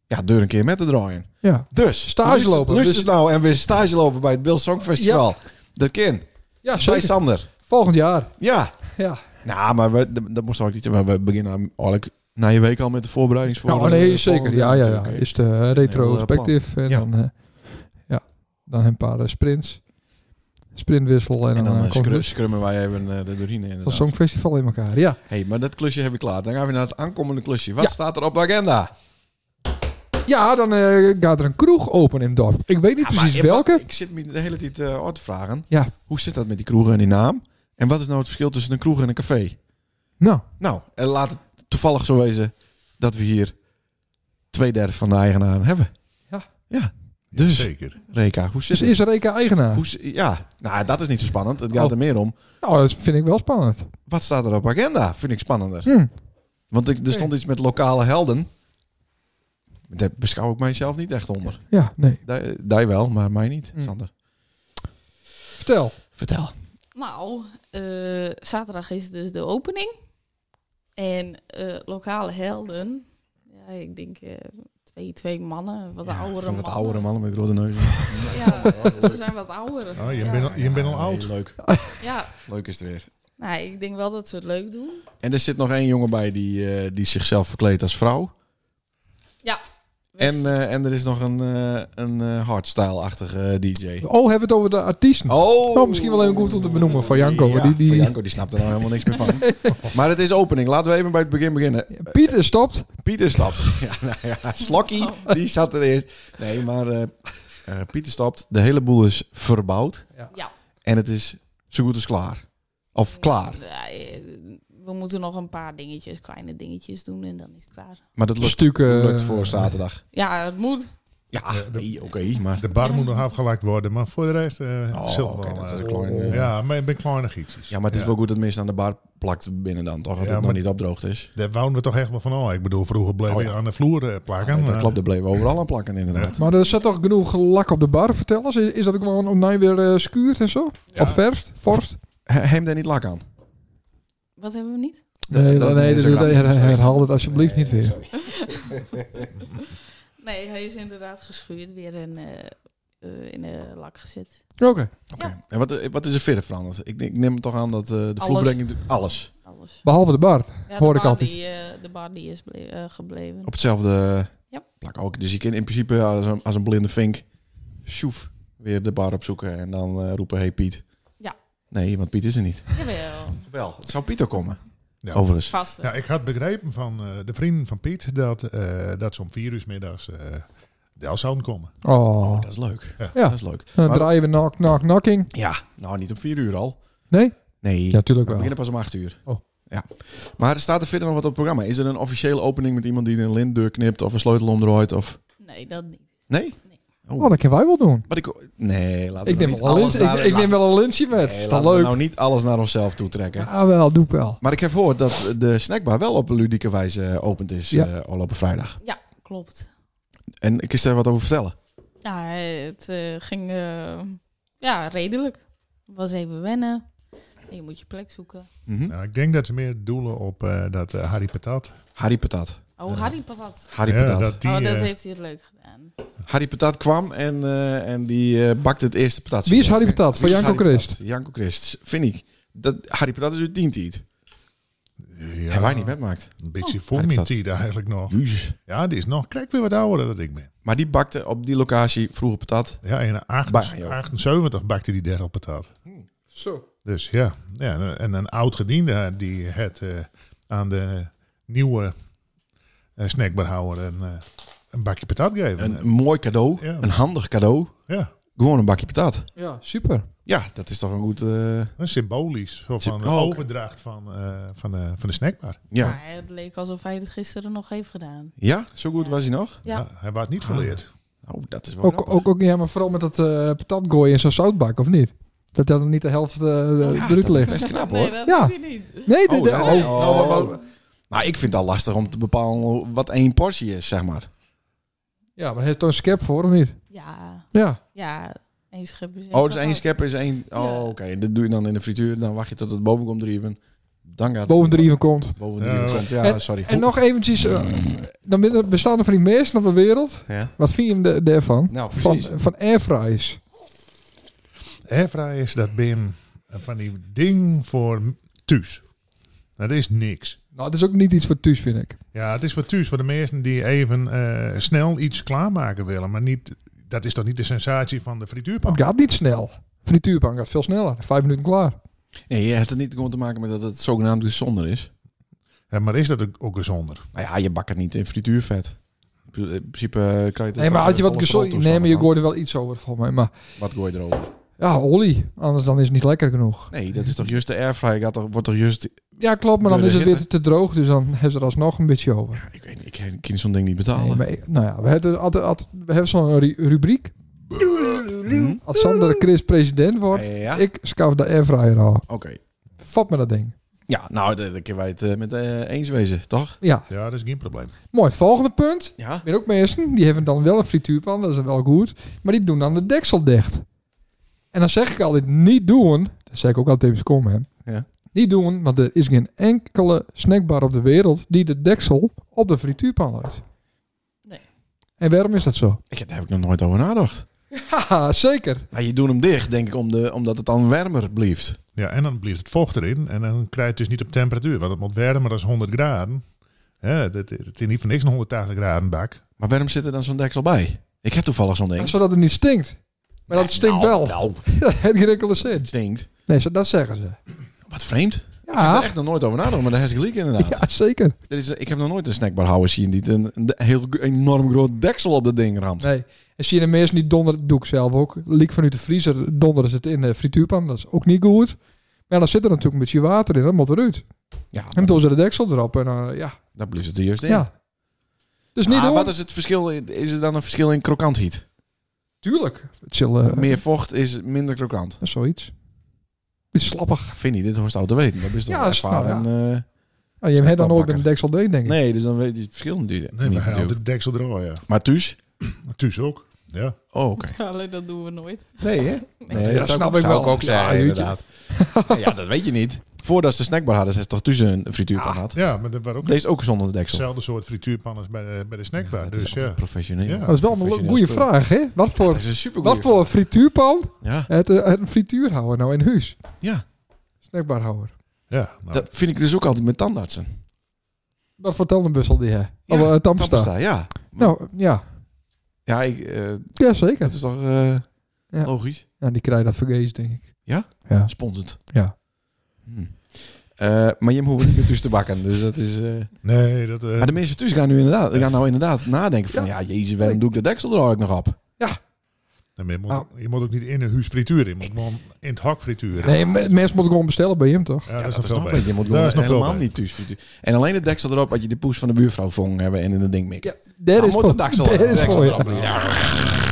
Speaker 2: Ja, deur een keer met te draaien.
Speaker 1: Ja.
Speaker 2: Dus,
Speaker 1: Stage
Speaker 2: lust-
Speaker 1: lopen.
Speaker 2: Lust
Speaker 1: Dus-
Speaker 2: het nou en weer stage lopen bij het Beeld Songfestival. Dat kind.
Speaker 1: Ja,
Speaker 2: Bij
Speaker 1: zeker.
Speaker 2: Sander.
Speaker 1: Volgend jaar.
Speaker 2: Ja.
Speaker 1: Ah, Ja.
Speaker 2: Nou, maar we, d- dat moest ook niet. maar We beginnen eigenlijk na je week al met de voorbereidings voor.
Speaker 1: Nou,
Speaker 2: eh,
Speaker 1: nee,
Speaker 2: volgende
Speaker 1: zeker. Ja,
Speaker 2: jaar
Speaker 1: ja, ja.
Speaker 2: natuurlijk, hè.
Speaker 1: Is de eh, retrospectief. En
Speaker 2: Ja.
Speaker 1: dan, eh, ja, dan een paar eh, sprints. Sprintwissel en,
Speaker 2: En dan
Speaker 1: dan,
Speaker 2: eh,
Speaker 1: eh, komt
Speaker 2: scru-
Speaker 1: het.
Speaker 2: scrummen wij even eh, er doorheen in.
Speaker 1: dat songfestival in elkaar. Ja,
Speaker 2: hey, maar dat klusje heb ik klaar. Dan gaan we naar het aankomende klusje. Wat
Speaker 1: Ja.
Speaker 2: staat er op de agenda?
Speaker 1: ja dan eh, gaat er een kroeg open in het dorp. Ik weet niet
Speaker 2: Ja, maar
Speaker 1: precies
Speaker 2: in wat-
Speaker 1: welke.
Speaker 2: Ik zit me de hele tijd eh uit te vragen.
Speaker 1: Ja.
Speaker 2: Hoe zit dat met die kroegen en die naam? En wat is nou het verschil tussen een kroeg en een café?
Speaker 1: Nou,
Speaker 2: Nou, en laat het toevallig zo wezen dat we hier twee derde van de eigenaren hebben.
Speaker 1: Ja.
Speaker 2: Ja. Dus,
Speaker 6: Zeker.
Speaker 2: Reka, hoe zit
Speaker 1: dus
Speaker 2: het?
Speaker 1: is Reka eigenaar?
Speaker 2: Hoe, zi- ja, nou, dat is niet zo spannend. Het gaat
Speaker 1: Oh.
Speaker 2: er meer om.
Speaker 1: Nou, dat vind ik wel spannend.
Speaker 2: Wat staat er op agenda? Vind ik spannender.
Speaker 1: Hm.
Speaker 2: Want ik, er stond iets met lokale helden. Daar beschouw ik mijzelf niet echt onder.
Speaker 1: Ja, nee.
Speaker 2: Daar daar wel, maar mij niet,
Speaker 1: Hm.
Speaker 2: Sander.
Speaker 1: Vertel.
Speaker 2: Vertel.
Speaker 7: Nou, eh, zaterdag is dus de opening. En eh, lokale helden. Ja, ik denk eh, twee, twee mannen. Wat
Speaker 2: Ja,
Speaker 7: oudere
Speaker 2: van
Speaker 7: mannen.
Speaker 2: wat oudere mannen met grote neuzen.
Speaker 7: Ja, ze zijn wat ouder.
Speaker 6: Oh, je
Speaker 7: ja.
Speaker 6: bent al, je bent al
Speaker 2: Ja,
Speaker 6: oud.
Speaker 2: nee, leuk.
Speaker 7: Ja,
Speaker 2: Leuk is het weer.
Speaker 7: nou, ik denk wel dat ze het leuk doen.
Speaker 2: En er zit nog één jongen bij die, eh, die zichzelf verkleedt als vrouw. En,
Speaker 7: Dus,
Speaker 2: eh, en er is nog een, eh, een eh, hardstyle-achtige DJ.
Speaker 1: Oh, hebben we het over de artiesten?
Speaker 2: Oh.
Speaker 1: Oh, misschien wel even goed om te benoemen voor Janko,
Speaker 2: Ja,
Speaker 1: die- die-
Speaker 2: voor Janko, die snapt er nou helemaal niks meer van.
Speaker 1: [laughs]
Speaker 2: maar het is opening. Laten we even bij het begin beginnen.
Speaker 1: Pieter stopt.
Speaker 2: Pieter stapt. [laughs] ja, nou ja, Slokkie,
Speaker 1: Oh.
Speaker 2: die zat er eerst. Nee, maar eh, eh, Pieter stapt. De hele boel is verbouwd.
Speaker 7: Ja.
Speaker 2: En het is zo goed als klaar. Of klaar.
Speaker 7: Ja, eh, we moeten nog een paar dingetjes, kleine dingetjes doen en dan is het klaar.
Speaker 2: Maar dat lukt,
Speaker 1: Stukken. eh,
Speaker 2: lukt voor zaterdag.
Speaker 7: Ja, het moet.
Speaker 2: Ja, nee, oké, maar...
Speaker 6: De bar moet nog afgelakt worden, maar voor de rest... eh
Speaker 2: Oh,
Speaker 6: zult
Speaker 2: oké,
Speaker 6: wel,
Speaker 2: dat is
Speaker 6: eh,
Speaker 2: een klein, eh,
Speaker 6: Ja, maar ik ben kleine gietjes.
Speaker 2: Ja, maar het is wel goed dat mensen aan de bar plakt binnen dan, toch? Dat
Speaker 6: Ja,
Speaker 2: het maar
Speaker 6: maar-
Speaker 2: niet opdroogd is.
Speaker 6: Daar wouden we toch echt wel van, oh, ik bedoel, vroeger bleef
Speaker 2: Oh,
Speaker 6: je
Speaker 2: ja.
Speaker 6: aan de vloer eh, plakken.
Speaker 2: Nee, dat
Speaker 6: eh,
Speaker 2: klopt, daar bleven we overal aan plakken inderdaad.
Speaker 1: Maar er zat toch genoeg lak op de bar, vertel eens. Is dat ook gewoon online weer eh, schuurt en zo?
Speaker 6: Ja.
Speaker 1: Of eh, verft? Vorst?
Speaker 2: He- Heem daar niet lak aan.
Speaker 7: Wat hebben we niet?
Speaker 1: Nee,
Speaker 2: dat-
Speaker 1: nee, nee,
Speaker 2: dat is
Speaker 1: dat-
Speaker 2: een grap.
Speaker 1: her- herhaal het alsjeblieft niet weer.
Speaker 7: [laughs] Nee, hij is inderdaad geschuurd. Weer in, eh, eh, in de lak gezet.
Speaker 1: Oké.
Speaker 2: Oké. En wat, wat is er verder veranderd? Ik, ik neem toch aan dat eh, de
Speaker 7: Alles.
Speaker 2: vloerbrenging... Alles.
Speaker 7: Alles.
Speaker 1: Behalve de bar.
Speaker 7: Ja,
Speaker 1: Hoor
Speaker 7: de
Speaker 1: ik
Speaker 7: bar
Speaker 1: altijd.
Speaker 7: Die, eh, de bar die is ble- eh, gebleven.
Speaker 2: Op hetzelfde
Speaker 7: Ja.
Speaker 2: plak ook. Dus je kan in principe ja, als een, als een blinde vink... Sjoef, weer de bar opzoeken en dan eh, roepen... Hey Piet.
Speaker 7: Ja.
Speaker 2: Nee, want Piet is er niet.
Speaker 7: Jawel.
Speaker 2: Wel, het zou Piet ook komen.
Speaker 6: Ja.
Speaker 2: Overigens.
Speaker 7: Vast.
Speaker 6: Ja, ik had begrepen van eh, de vrienden van Piet dat, eh dat ze om vier uur 's middags eh de zouden komen.
Speaker 1: Oh.
Speaker 2: Dat is leuk.
Speaker 6: Ja.
Speaker 2: Dat is leuk.
Speaker 1: Dan
Speaker 2: Maar-
Speaker 1: draaien we knock, knock, knocking.
Speaker 2: Ja, nou niet om vier uur al.
Speaker 1: Nee?
Speaker 2: Nee.
Speaker 1: Ja, tuurlijk
Speaker 2: We
Speaker 1: wel.
Speaker 2: beginnen pas om 8 uur.
Speaker 1: Oh.
Speaker 2: Ja. Maar er staat er verder nog wat op het programma. Is er een officiële opening met iemand die een lintdeur knipt of een sleutel omdraait? Of...
Speaker 7: Nee, dat niet.
Speaker 2: Nee?
Speaker 1: Oh, dat kunnen wij wel doen.
Speaker 2: Wat ik... Nee, laten
Speaker 1: Ik
Speaker 2: we
Speaker 1: neem, wel
Speaker 2: nou niet
Speaker 1: een
Speaker 2: alles
Speaker 1: lintje,
Speaker 2: naar...
Speaker 1: ik, ik neem wel een lintje met.
Speaker 2: Nee,
Speaker 1: is dat
Speaker 2: laten we
Speaker 1: leuk?
Speaker 2: nou niet alles naar onszelf toe trekken.
Speaker 1: Ja, wel, doe ik wel.
Speaker 2: Maar ik heb gehoord dat de snackbar wel op een ludieke wijze eh, opend is
Speaker 1: Ja.
Speaker 2: eh afgelopen vrijdag.
Speaker 7: Ja, klopt.
Speaker 2: En ik is daar wat over vertellen.
Speaker 7: Ja, het eh, ging eh, ja, redelijk. Was even wennen. En je moet je plek zoeken.
Speaker 2: Mhm.
Speaker 6: Nou, ik denk dat ze meer doelen op eh, dat eh, Harry Patat.
Speaker 2: Harry Patat.
Speaker 7: Oh, Harry Patat.
Speaker 2: Harry
Speaker 6: Ja,
Speaker 2: Patat.
Speaker 6: dat die,
Speaker 7: oh, dat
Speaker 6: eh,
Speaker 7: heeft hij leuk gedaan.
Speaker 2: Harry Patat kwam en, eh, en die eh, bakte het eerste patat.
Speaker 1: Wie is Harry Patat? Van
Speaker 2: Wie is
Speaker 1: Janko
Speaker 2: Harry
Speaker 1: Christ?
Speaker 2: Patat? Janko Christ, vind ik. Dat Harry Patat is uit dient eat.
Speaker 6: ja,
Speaker 2: Hebben wij niet metmaakt.
Speaker 6: Een beetje oh,
Speaker 2: Harry Patat.
Speaker 6: die daar eigenlijk nog.
Speaker 2: Jezus.
Speaker 6: Ja, die is nog, kijk weer wat ouder dan ik ben.
Speaker 2: Maar die bakte op die locatie vroeger patat.
Speaker 6: Ja, in
Speaker 2: Bah, joh.
Speaker 6: 78 bakte die daar al patat.
Speaker 1: Zo.
Speaker 6: Dus ja, ja en een oud gediende die het eh, aan de nieuwe eh snackbar houden en eh, een bakje patat geven.
Speaker 2: Een, mooi cadeau.
Speaker 6: Ja.
Speaker 2: Een handig cadeau.
Speaker 6: ja,
Speaker 2: Gewoon een bakje patat.
Speaker 1: Ja, super.
Speaker 2: Ja, dat is toch een goed... eh,
Speaker 6: een symbolisch zo van de
Speaker 2: Oh, oké.
Speaker 6: overdracht van, eh, van, de, van de snackbar.
Speaker 2: ja.
Speaker 7: Maar het leek alsof hij het gisteren nog heeft gedaan.
Speaker 2: ja, zo goed was hij nog.
Speaker 7: Ja.
Speaker 6: Ja. hij was
Speaker 2: Ah.
Speaker 6: niet verleerd.
Speaker 2: Oh, dat is wel
Speaker 1: Ook,
Speaker 2: grappig.
Speaker 1: ook, ook, ja, maar vooral met dat eh patatgooi en zo'n zoutbak, of niet? Dat dat niet de helft eh
Speaker 2: Oh, Ja,
Speaker 1: eruit
Speaker 2: dat is
Speaker 1: ligt.
Speaker 2: best knap hoor.
Speaker 7: [laughs] Nee, dat
Speaker 1: Ja.
Speaker 7: doet hij niet.
Speaker 1: Nee,
Speaker 2: Oh,
Speaker 1: dit- dit-
Speaker 2: nee,
Speaker 1: oh,
Speaker 2: nee.
Speaker 1: nou, maar- maar-
Speaker 2: Maar ik vind het al lastig om te bepalen wat één portie is, zeg maar.
Speaker 1: ja, maar heeft toch een scap voor, of niet?
Speaker 7: Ja,
Speaker 1: Ja.
Speaker 7: ja. Eén schep is
Speaker 2: Oh, dus één
Speaker 7: patat.
Speaker 2: schep is één... Oh,
Speaker 7: Ja.
Speaker 2: oké. Dat doe je dan in de frituur. Dan wacht je tot het boven komt drieven. Dan gaat
Speaker 1: Boven drieën komt.
Speaker 2: Boven drieven
Speaker 6: Ja.
Speaker 2: komt. Ja,
Speaker 1: En-
Speaker 2: sorry.
Speaker 1: En nog eventjes, eh, dan ben- bestaan er van die mensen op de wereld.
Speaker 2: Ja.
Speaker 1: Wat vind je de- daarvan?
Speaker 2: Nou,
Speaker 1: van,
Speaker 2: precies.
Speaker 1: van airfryers.
Speaker 6: Airfryer is dat bin eh, van die ding voor thuis. Dat is niks.
Speaker 1: Nou, het is ook niet iets voor thuis, vind ik.
Speaker 6: Ja, het is wat thuis voor de mensen die even eh, snel iets klaarmaken willen. Maar niet, dat is toch niet de sensatie van de frituurpan?
Speaker 1: Het gaat niet snel. Frituurpan gaat veel sneller. Vijf minuten klaar.
Speaker 2: Nee, je hebt het niet gewoon te maken met dat het zogenaamd gezonder is.
Speaker 6: Ja, maar is dat ook- ook gezonder?
Speaker 2: Nou ja, je bakt het niet in frituurvet. In principe eh, krijg je het...
Speaker 1: Nee, maar
Speaker 2: uit
Speaker 1: had je
Speaker 2: volle
Speaker 1: wat gezond...
Speaker 2: stroomtoestand
Speaker 1: Nee, maar je
Speaker 2: dan.
Speaker 1: gooit er wel iets over, volgens mij. Maar
Speaker 2: Wat gooi je erover?
Speaker 1: ja, olie. Anders dan is het niet lekker genoeg.
Speaker 2: Nee, dat is toch juist de airfryer. Gaat toch, wordt toch juist...
Speaker 1: Ja, klopt. Maar dan
Speaker 2: Door
Speaker 1: is
Speaker 2: de
Speaker 1: het weer te,
Speaker 2: hitte.
Speaker 1: droog. Dus dan hebben ze er alsnog een beetje over.
Speaker 2: Ik weet niet, ik kan zo'n ding niet betalen.
Speaker 1: Nee, maar ik- nou ja, we hebben, altijd, altijd- we hebben zo'n ru- rubriek. Als Sander Chris president wordt,
Speaker 2: Mhm. Ja, ja, ja.
Speaker 1: ik schaf de airfryer aan.
Speaker 2: Oké.
Speaker 1: Vat me dat ding.
Speaker 2: Ja, nou, daar daar kunnen wij het eh, met eh, eens wezen, toch?
Speaker 1: Ja,
Speaker 6: Ja, dat is geen probleem.
Speaker 1: mooi. Volgende punt.
Speaker 2: Ja.
Speaker 1: Ik ben ook mensen, die hebben dan wel een frituurpan, dat is dan wel goed. Maar die doen dan de deksel dicht. En dan zeg ik altijd, niet doen. Dat zeg ik ook altijd tegen komen, hè.
Speaker 2: Ja.
Speaker 1: Niet doen, want er is geen enkele snackbar op de wereld die de deksel op de frituurpan houdt.
Speaker 7: Nee. [laughs]
Speaker 1: En waarom is dat zo? [laughs]
Speaker 2: Ik, daar heb ik nog nooit over nagedacht.
Speaker 1: Haha, zeker.
Speaker 2: Maar je doet hem dicht, denk ik, om de, omdat het dan warmer blijft.
Speaker 6: Ja, en dan blijft het vocht erin. En dan krijg je het dus niet op temperatuur. Want het moet warmer dan 100 graden. Ja, dat- het is niet voor niks een 180 graden bak.
Speaker 2: Maar waarom zit er dan zo'n deksel bij? Ik heb toevallig zo'n ding.
Speaker 1: Zodat het niet stinkt. [laughs] Maar dat stinkt wel. dat heeft geen enkele zin.
Speaker 2: Het stinkt.
Speaker 1: Nee, zo- dat zeggen ze.
Speaker 2: Wat vreemd. Ik heb er
Speaker 1: Ja,
Speaker 2: echt nog nooit over nagedacht, maar daar heb ik gelijk inderdaad.
Speaker 1: Ah. [laughs] ja zeker.
Speaker 2: Er is, ik heb nog nooit een snackbarhouwer zien die een, een heel g- enorm groot deksel op dat ding ramt.
Speaker 1: Nee. En zie je de mensen die donderen, doe ik zelf ook. Liek vanuit de vriezer donderen ze het in de frituurpan. Dat is ook niet goed. Maar ja, dan zit er natuurlijk een beetje water in. Dat moet eruit.
Speaker 2: Ja,
Speaker 1: En
Speaker 2: dat,
Speaker 1: toen ze de deksel erop. En dan, ja,
Speaker 2: dat blijft het er juist in.
Speaker 1: ja. Dus niet
Speaker 2: Ah,
Speaker 1: doen.
Speaker 2: wat is het verschil? in- Is er dan een verschil in krokantheid?
Speaker 1: Tuurlijk. Chillen.
Speaker 2: Meer vocht is minder krokant.
Speaker 1: eh, Zoiets. Is slappig.
Speaker 2: Vind je dit hoort al te weten? Dat is toch
Speaker 1: Ja, is-
Speaker 2: ervaren. eh,
Speaker 1: Ah, je hebt dan nooit
Speaker 2: wel
Speaker 1: met
Speaker 2: bakker.
Speaker 1: een deksel D, denk ik.
Speaker 2: nee, dus dan weet je het verschil natuurlijk.
Speaker 6: Nee,
Speaker 2: niet
Speaker 6: we gaan
Speaker 2: natuurlijk.
Speaker 6: de deksel draaien.
Speaker 2: Maar thuis?
Speaker 6: Thuis ook. Ja.
Speaker 2: Oh, oké.
Speaker 7: Allee, dat doen we nooit.
Speaker 2: Nee, hè? Nee, dat, zou,
Speaker 1: snap
Speaker 2: ik,
Speaker 1: ik
Speaker 2: zou ik
Speaker 1: wel.
Speaker 2: ook zeggen,
Speaker 1: Ja, jeetje. [laughs]
Speaker 2: inderdaad. ja, dat weet je niet. Voordat ze de snackbar hadden, ze toch tussen een frituurpan had.
Speaker 6: ja, maar dat was ook
Speaker 2: Deze is ook zonder de deksel.
Speaker 6: hetzelfde soort frituurpan als bij de, bij de snackbar.
Speaker 2: Het is
Speaker 6: dus
Speaker 2: altijd
Speaker 6: ja.
Speaker 2: professioneel.
Speaker 6: Ja.
Speaker 1: Nou, Dat is wel een goede vraag, hè? Wat
Speaker 2: Dat [laughs]
Speaker 1: voor,
Speaker 2: is een super
Speaker 1: wat voor frituurpan?
Speaker 2: Ja,
Speaker 1: Het, eh, het een frituurhouwer nou in huis.
Speaker 2: ja.
Speaker 1: Snackbarhouwer.
Speaker 6: ja nou,
Speaker 2: dat vind ik dus ook altijd met tandartsen.
Speaker 1: Wat voor tandenbussel die hè?
Speaker 2: Ja,
Speaker 1: Of eh, tandpasta.
Speaker 2: Tandpasta, ja.
Speaker 1: Nou, ja.
Speaker 2: Ja, ik, eh, dat
Speaker 1: Jazeker.
Speaker 2: is toch eh,
Speaker 1: Ja.
Speaker 2: logisch?
Speaker 1: Ja, die krijgt dat vergees, denk ik.
Speaker 2: Ja?
Speaker 1: Ja.
Speaker 2: Sponsend.
Speaker 1: Ja.
Speaker 2: Hm. Eh, maar je hoeft niet meer thuis te bakken. Dus dat is, eh,
Speaker 6: nee, dat... eh,
Speaker 2: Maar de mensen thuis gaan nu inderdaad, gaan nou inderdaad nadenken van... Ja, jezus, waarom doe ik de deksel er eigenlijk nog op?
Speaker 6: nee, maar je, moet,
Speaker 2: Ah.
Speaker 6: je moet ook niet in een huis frituren. Je moet gewoon in het hak frituren.
Speaker 1: Nee, me- mensen moeten gewoon bestellen bij hem, toch?
Speaker 6: Ja, dat,
Speaker 2: dat
Speaker 6: is nog
Speaker 2: nog
Speaker 6: wel
Speaker 2: Je moet
Speaker 6: beter. Dat is nog wel
Speaker 2: helemaal
Speaker 6: beter.
Speaker 2: niet thuis. En alleen het deksel erop dat je de poes van de buurvrouw vong hebben en in het ding mikken.
Speaker 1: Ja, daar
Speaker 2: Dan
Speaker 1: is
Speaker 2: Nou, moet
Speaker 1: voor.
Speaker 2: het deksel,
Speaker 1: [laughs] daar is
Speaker 2: deksel
Speaker 1: voor, ja.
Speaker 2: erop.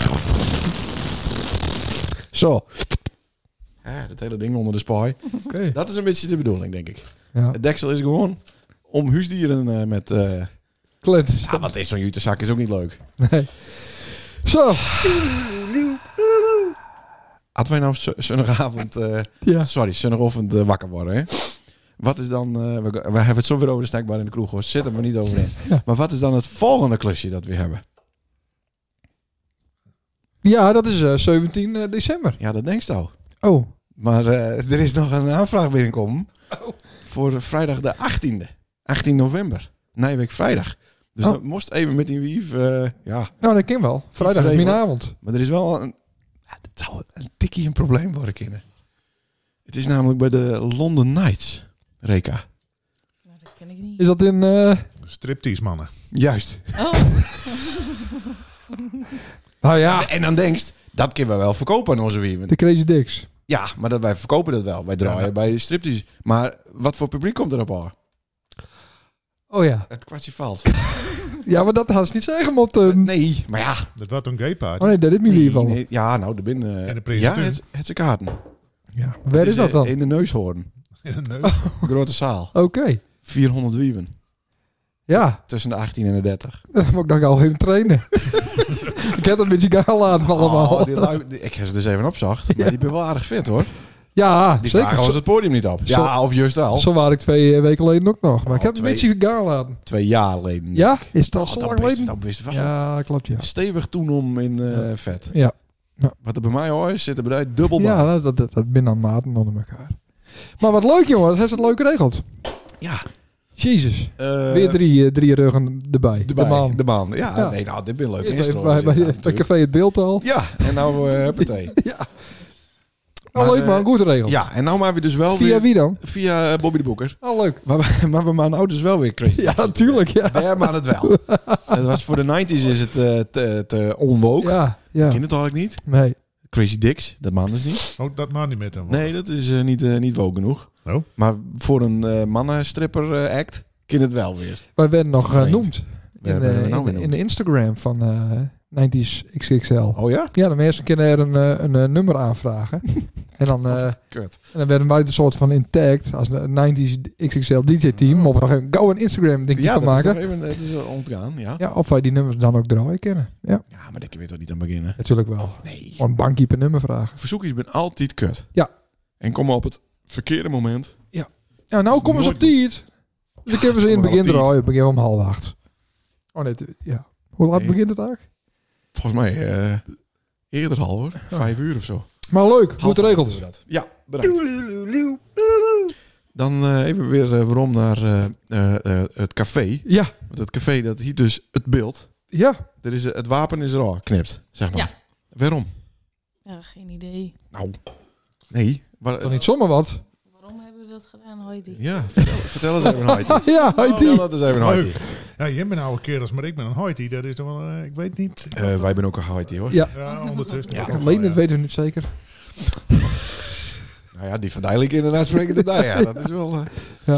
Speaker 2: Zo. Ja, dat hele ding onder de spaai.
Speaker 1: Oké.
Speaker 2: Dat is een beetje de bedoling, denk ik.
Speaker 1: Ja.
Speaker 2: Het deksel is gewoon om huisdieren eh, met... eh
Speaker 1: Klets.
Speaker 2: ja, wat Ah, is zo'n jutezak? Is ook niet leuk.
Speaker 1: Nee. Zo.
Speaker 2: Hadden wij nou z- zondagavond... eh,
Speaker 1: Ja.
Speaker 2: Sorry, zondagochtend eh, wakker worden, hè? Wat is dan... eh, we, we hebben het zo weer over de snackbar in de kroeg, hoor. Zit er maar niet over in.
Speaker 1: [laughs] Ja.
Speaker 2: Maar wat is dan het volgende klusje dat we hebben?
Speaker 1: ja, dat is eh, 17 eh, december.
Speaker 2: Ja, dat denk ik al.
Speaker 1: Oh.
Speaker 2: Maar eh, er is nog een aanvraag binnenkomen.
Speaker 1: Oh.
Speaker 2: Voor vrijdag de 18e. 18 november. Nijweek vrijdag. Dus
Speaker 1: Oh.
Speaker 2: dat moest even met die wief. eh, ja,
Speaker 1: Nou, dat kan wel. Vrijdag is
Speaker 2: regelen.
Speaker 1: mijn avond.
Speaker 2: maar er is wel een... Ja, dat zou een tikkie een probleem worden, kinderen. Het is namelijk bij de London Knights, Reka.
Speaker 7: Nou, dat ken ik niet.
Speaker 1: Is dat in... eh,
Speaker 6: Striptease mannen.
Speaker 2: Juist.
Speaker 7: Oh,
Speaker 1: Nou ja,
Speaker 2: En dan denkst, dat kunnen we wel verkopen aan onze wief.
Speaker 1: de Crazy Dicks.
Speaker 2: Ja, maar dat, wij verkopen dat wel. Wij draaien
Speaker 6: Ja.
Speaker 2: bij de striptease. Maar wat voor publiek komt er op haar?
Speaker 1: Oh ja.
Speaker 2: Het kwartje valt.
Speaker 1: Ja, maar dat had ze niet zeggen, want... eh,
Speaker 2: Eh, nee, maar ja.
Speaker 6: Dat was een gay party.
Speaker 1: Oh
Speaker 6: [laughs]
Speaker 1: nee, dat is mijn
Speaker 2: Nee,
Speaker 1: liever.
Speaker 2: nee, ja, nou, de binnen.
Speaker 6: En de
Speaker 2: ja,
Speaker 6: presentateur.
Speaker 2: het, het zijn kaarten.
Speaker 1: Ja. Waar
Speaker 2: Het
Speaker 1: is dat
Speaker 2: eh,
Speaker 1: dan?
Speaker 2: In de neushoorn.
Speaker 6: Nee.
Speaker 2: Grote zaal.
Speaker 1: Oké.
Speaker 2: 400 wieven.
Speaker 1: Ja, [laughs]
Speaker 2: Tussen de 18 en de 30.
Speaker 1: dan moet ik nog al even
Speaker 2: [laughs]
Speaker 1: trainen. ik heb dat een beetje gaal aan allemaal.
Speaker 2: Oh, die lui- die- ik heb ze dus even opzacht. Maar die ben wel aardig fit hoor.
Speaker 1: ja,
Speaker 2: Die
Speaker 1: zeker.
Speaker 2: vragen ons
Speaker 1: Zo,
Speaker 2: het podium niet op.
Speaker 1: Zo-
Speaker 2: Ja, of juist wel.
Speaker 1: zo waren ik twee eh, weken geleden ook nog. Maar ik heb een
Speaker 2: twee-
Speaker 1: beetje gaal aan.
Speaker 2: Twee jaar geleden.
Speaker 1: Ja? Is dat
Speaker 2: Oh,
Speaker 1: al zo
Speaker 2: dat
Speaker 1: lang
Speaker 2: wist-
Speaker 1: geleden?
Speaker 2: Dat wist wel.
Speaker 1: Ja, klopt ja.
Speaker 2: Stevig toen om in eh, vet.
Speaker 1: Ja. Ja.
Speaker 2: Wat er bij mij hoor, is, zit er bij mij dubbel
Speaker 1: Ja,
Speaker 2: bij.
Speaker 1: dat, dat, dat, dat binnen aan maten onder elkaar. Maar wat leuk jongen, dat heeft het leuk geregeld.
Speaker 2: Ja.
Speaker 1: Jezus.
Speaker 2: Eh,
Speaker 1: Weer drie, eh, drie ruggen erbij.
Speaker 2: De man.
Speaker 1: man.
Speaker 2: De man. Ja,
Speaker 1: Ja.
Speaker 2: nee, nou, dit ben leuk.
Speaker 1: Eerst even bij, bij, bij Café Het Beeld al.
Speaker 2: ja, en nou eh
Speaker 1: [laughs]
Speaker 2: huppatee.
Speaker 1: Ja.
Speaker 2: Maar,
Speaker 1: Oh, leuk
Speaker 2: eh,
Speaker 1: man, goed geregeld.
Speaker 2: Ja, en nou maar we dus wel
Speaker 1: Via
Speaker 2: weer...
Speaker 1: wie dan?
Speaker 2: Via eh, Bobby de Boeker.
Speaker 1: Oh,
Speaker 2: [laughs]
Speaker 1: leuk.
Speaker 2: Maar, we- maar we maken nou dus wel weer crazy.
Speaker 1: Ja, natuurlijk. Ja.
Speaker 2: Ja, maar het
Speaker 1: [laughs]
Speaker 2: wel. het was voor de 90s is het eh, te, te onwoke.
Speaker 1: Ja, ja.
Speaker 2: Ken het eigenlijk niet.
Speaker 1: Nee.
Speaker 2: Crazy Dicks, dat man dus niet.
Speaker 6: Ook Oh, dat maar niet met hem.
Speaker 2: Nee, dat is eh, niet, eh, niet woke genoeg.
Speaker 6: Oh.
Speaker 2: Maar voor een eh, mannenstripper eh, act, ken het wel weer.
Speaker 1: Wij werden
Speaker 2: Dat
Speaker 1: nog
Speaker 2: is vreemd.
Speaker 1: genoemd
Speaker 2: Waar
Speaker 1: in,
Speaker 2: werden we
Speaker 1: eh,
Speaker 2: nou
Speaker 1: in,
Speaker 2: weer
Speaker 1: in de Instagram van eh 90s XXL.
Speaker 2: Oh ja?
Speaker 1: Ja, de mensen kunnen er een, eh, een eh, nummer
Speaker 2: [laughs]
Speaker 1: aanvragen. en, dan, eh, en
Speaker 2: Oh, Kut.
Speaker 1: dan werden wij een soort van intagged als een 90s XXL DJ-team. Of we nog even go een Instagram ding
Speaker 2: Oh. Ja,
Speaker 1: van
Speaker 2: dat
Speaker 1: maken.
Speaker 2: is nog even het is eh, ontgaan, ja.
Speaker 1: Ja, of wij die nummers dan ook draaien kennen. Ja,
Speaker 2: Ja, maar daar kun je toch niet aan beginnen?
Speaker 1: natuurlijk wel.
Speaker 2: Nee.
Speaker 1: Gewoon een bankje per nummer vragen.
Speaker 2: Verzoekjes ben altijd kut.
Speaker 1: Ja.
Speaker 2: En komen op het verkeerde moment.
Speaker 1: Ja, nou
Speaker 2: Dat is
Speaker 1: komen ze op
Speaker 2: nooit goed.
Speaker 1: tijd. Dus dan kunnen we
Speaker 2: ze
Speaker 1: ze in het
Speaker 2: komen wel
Speaker 1: begin
Speaker 2: op tijd.
Speaker 1: draaien. Het begin om half acht. Oh nee, t- ja. Hoe laat
Speaker 2: Nee.
Speaker 1: begint het eigenlijk?
Speaker 2: Volgens mij eh, eerder al hoor. Vijf uur of zo.
Speaker 1: Maar leuk, goed
Speaker 2: Half
Speaker 1: geregeld.
Speaker 2: acht doen we dat. Ja, bedankt. Dan eh, even weer eh, waarom naar eh, eh, eh, het café.
Speaker 1: Ja,
Speaker 2: Want het café dat hier dus het beeld.
Speaker 1: ja.
Speaker 2: Er is, eh, het wapen is er al knipt, zeg maar.
Speaker 7: Ja.
Speaker 2: Waarom?
Speaker 7: ja, geen idee.
Speaker 2: Nou, nee. Waar,
Speaker 1: Dan niet zomaar wat.
Speaker 7: Waarom hebben we dat gedaan, Hoity?
Speaker 2: ja, vertel, vertel eens even een Haiti.
Speaker 1: Ja,
Speaker 2: Vertel
Speaker 1: IT.
Speaker 2: dat eens even een
Speaker 6: Leuk.
Speaker 2: Haiti.
Speaker 6: Ja, jij bent nou een oude kerels, maar ik ben een hoitie. Dat is toch wel, eh, ik weet niet.
Speaker 2: Eh, wij zijn ook een Haiti
Speaker 1: [laughs]
Speaker 2: hoor.
Speaker 1: Ja.
Speaker 6: Ja, ondertussen.
Speaker 2: Ja,
Speaker 6: ook wel,
Speaker 1: Alleen dat
Speaker 6: ja.
Speaker 1: weten we niet zeker.
Speaker 2: [laughs] Nou ja, die van Dijlik inderdaad spreken te daar. Ja, dat is wel... eh,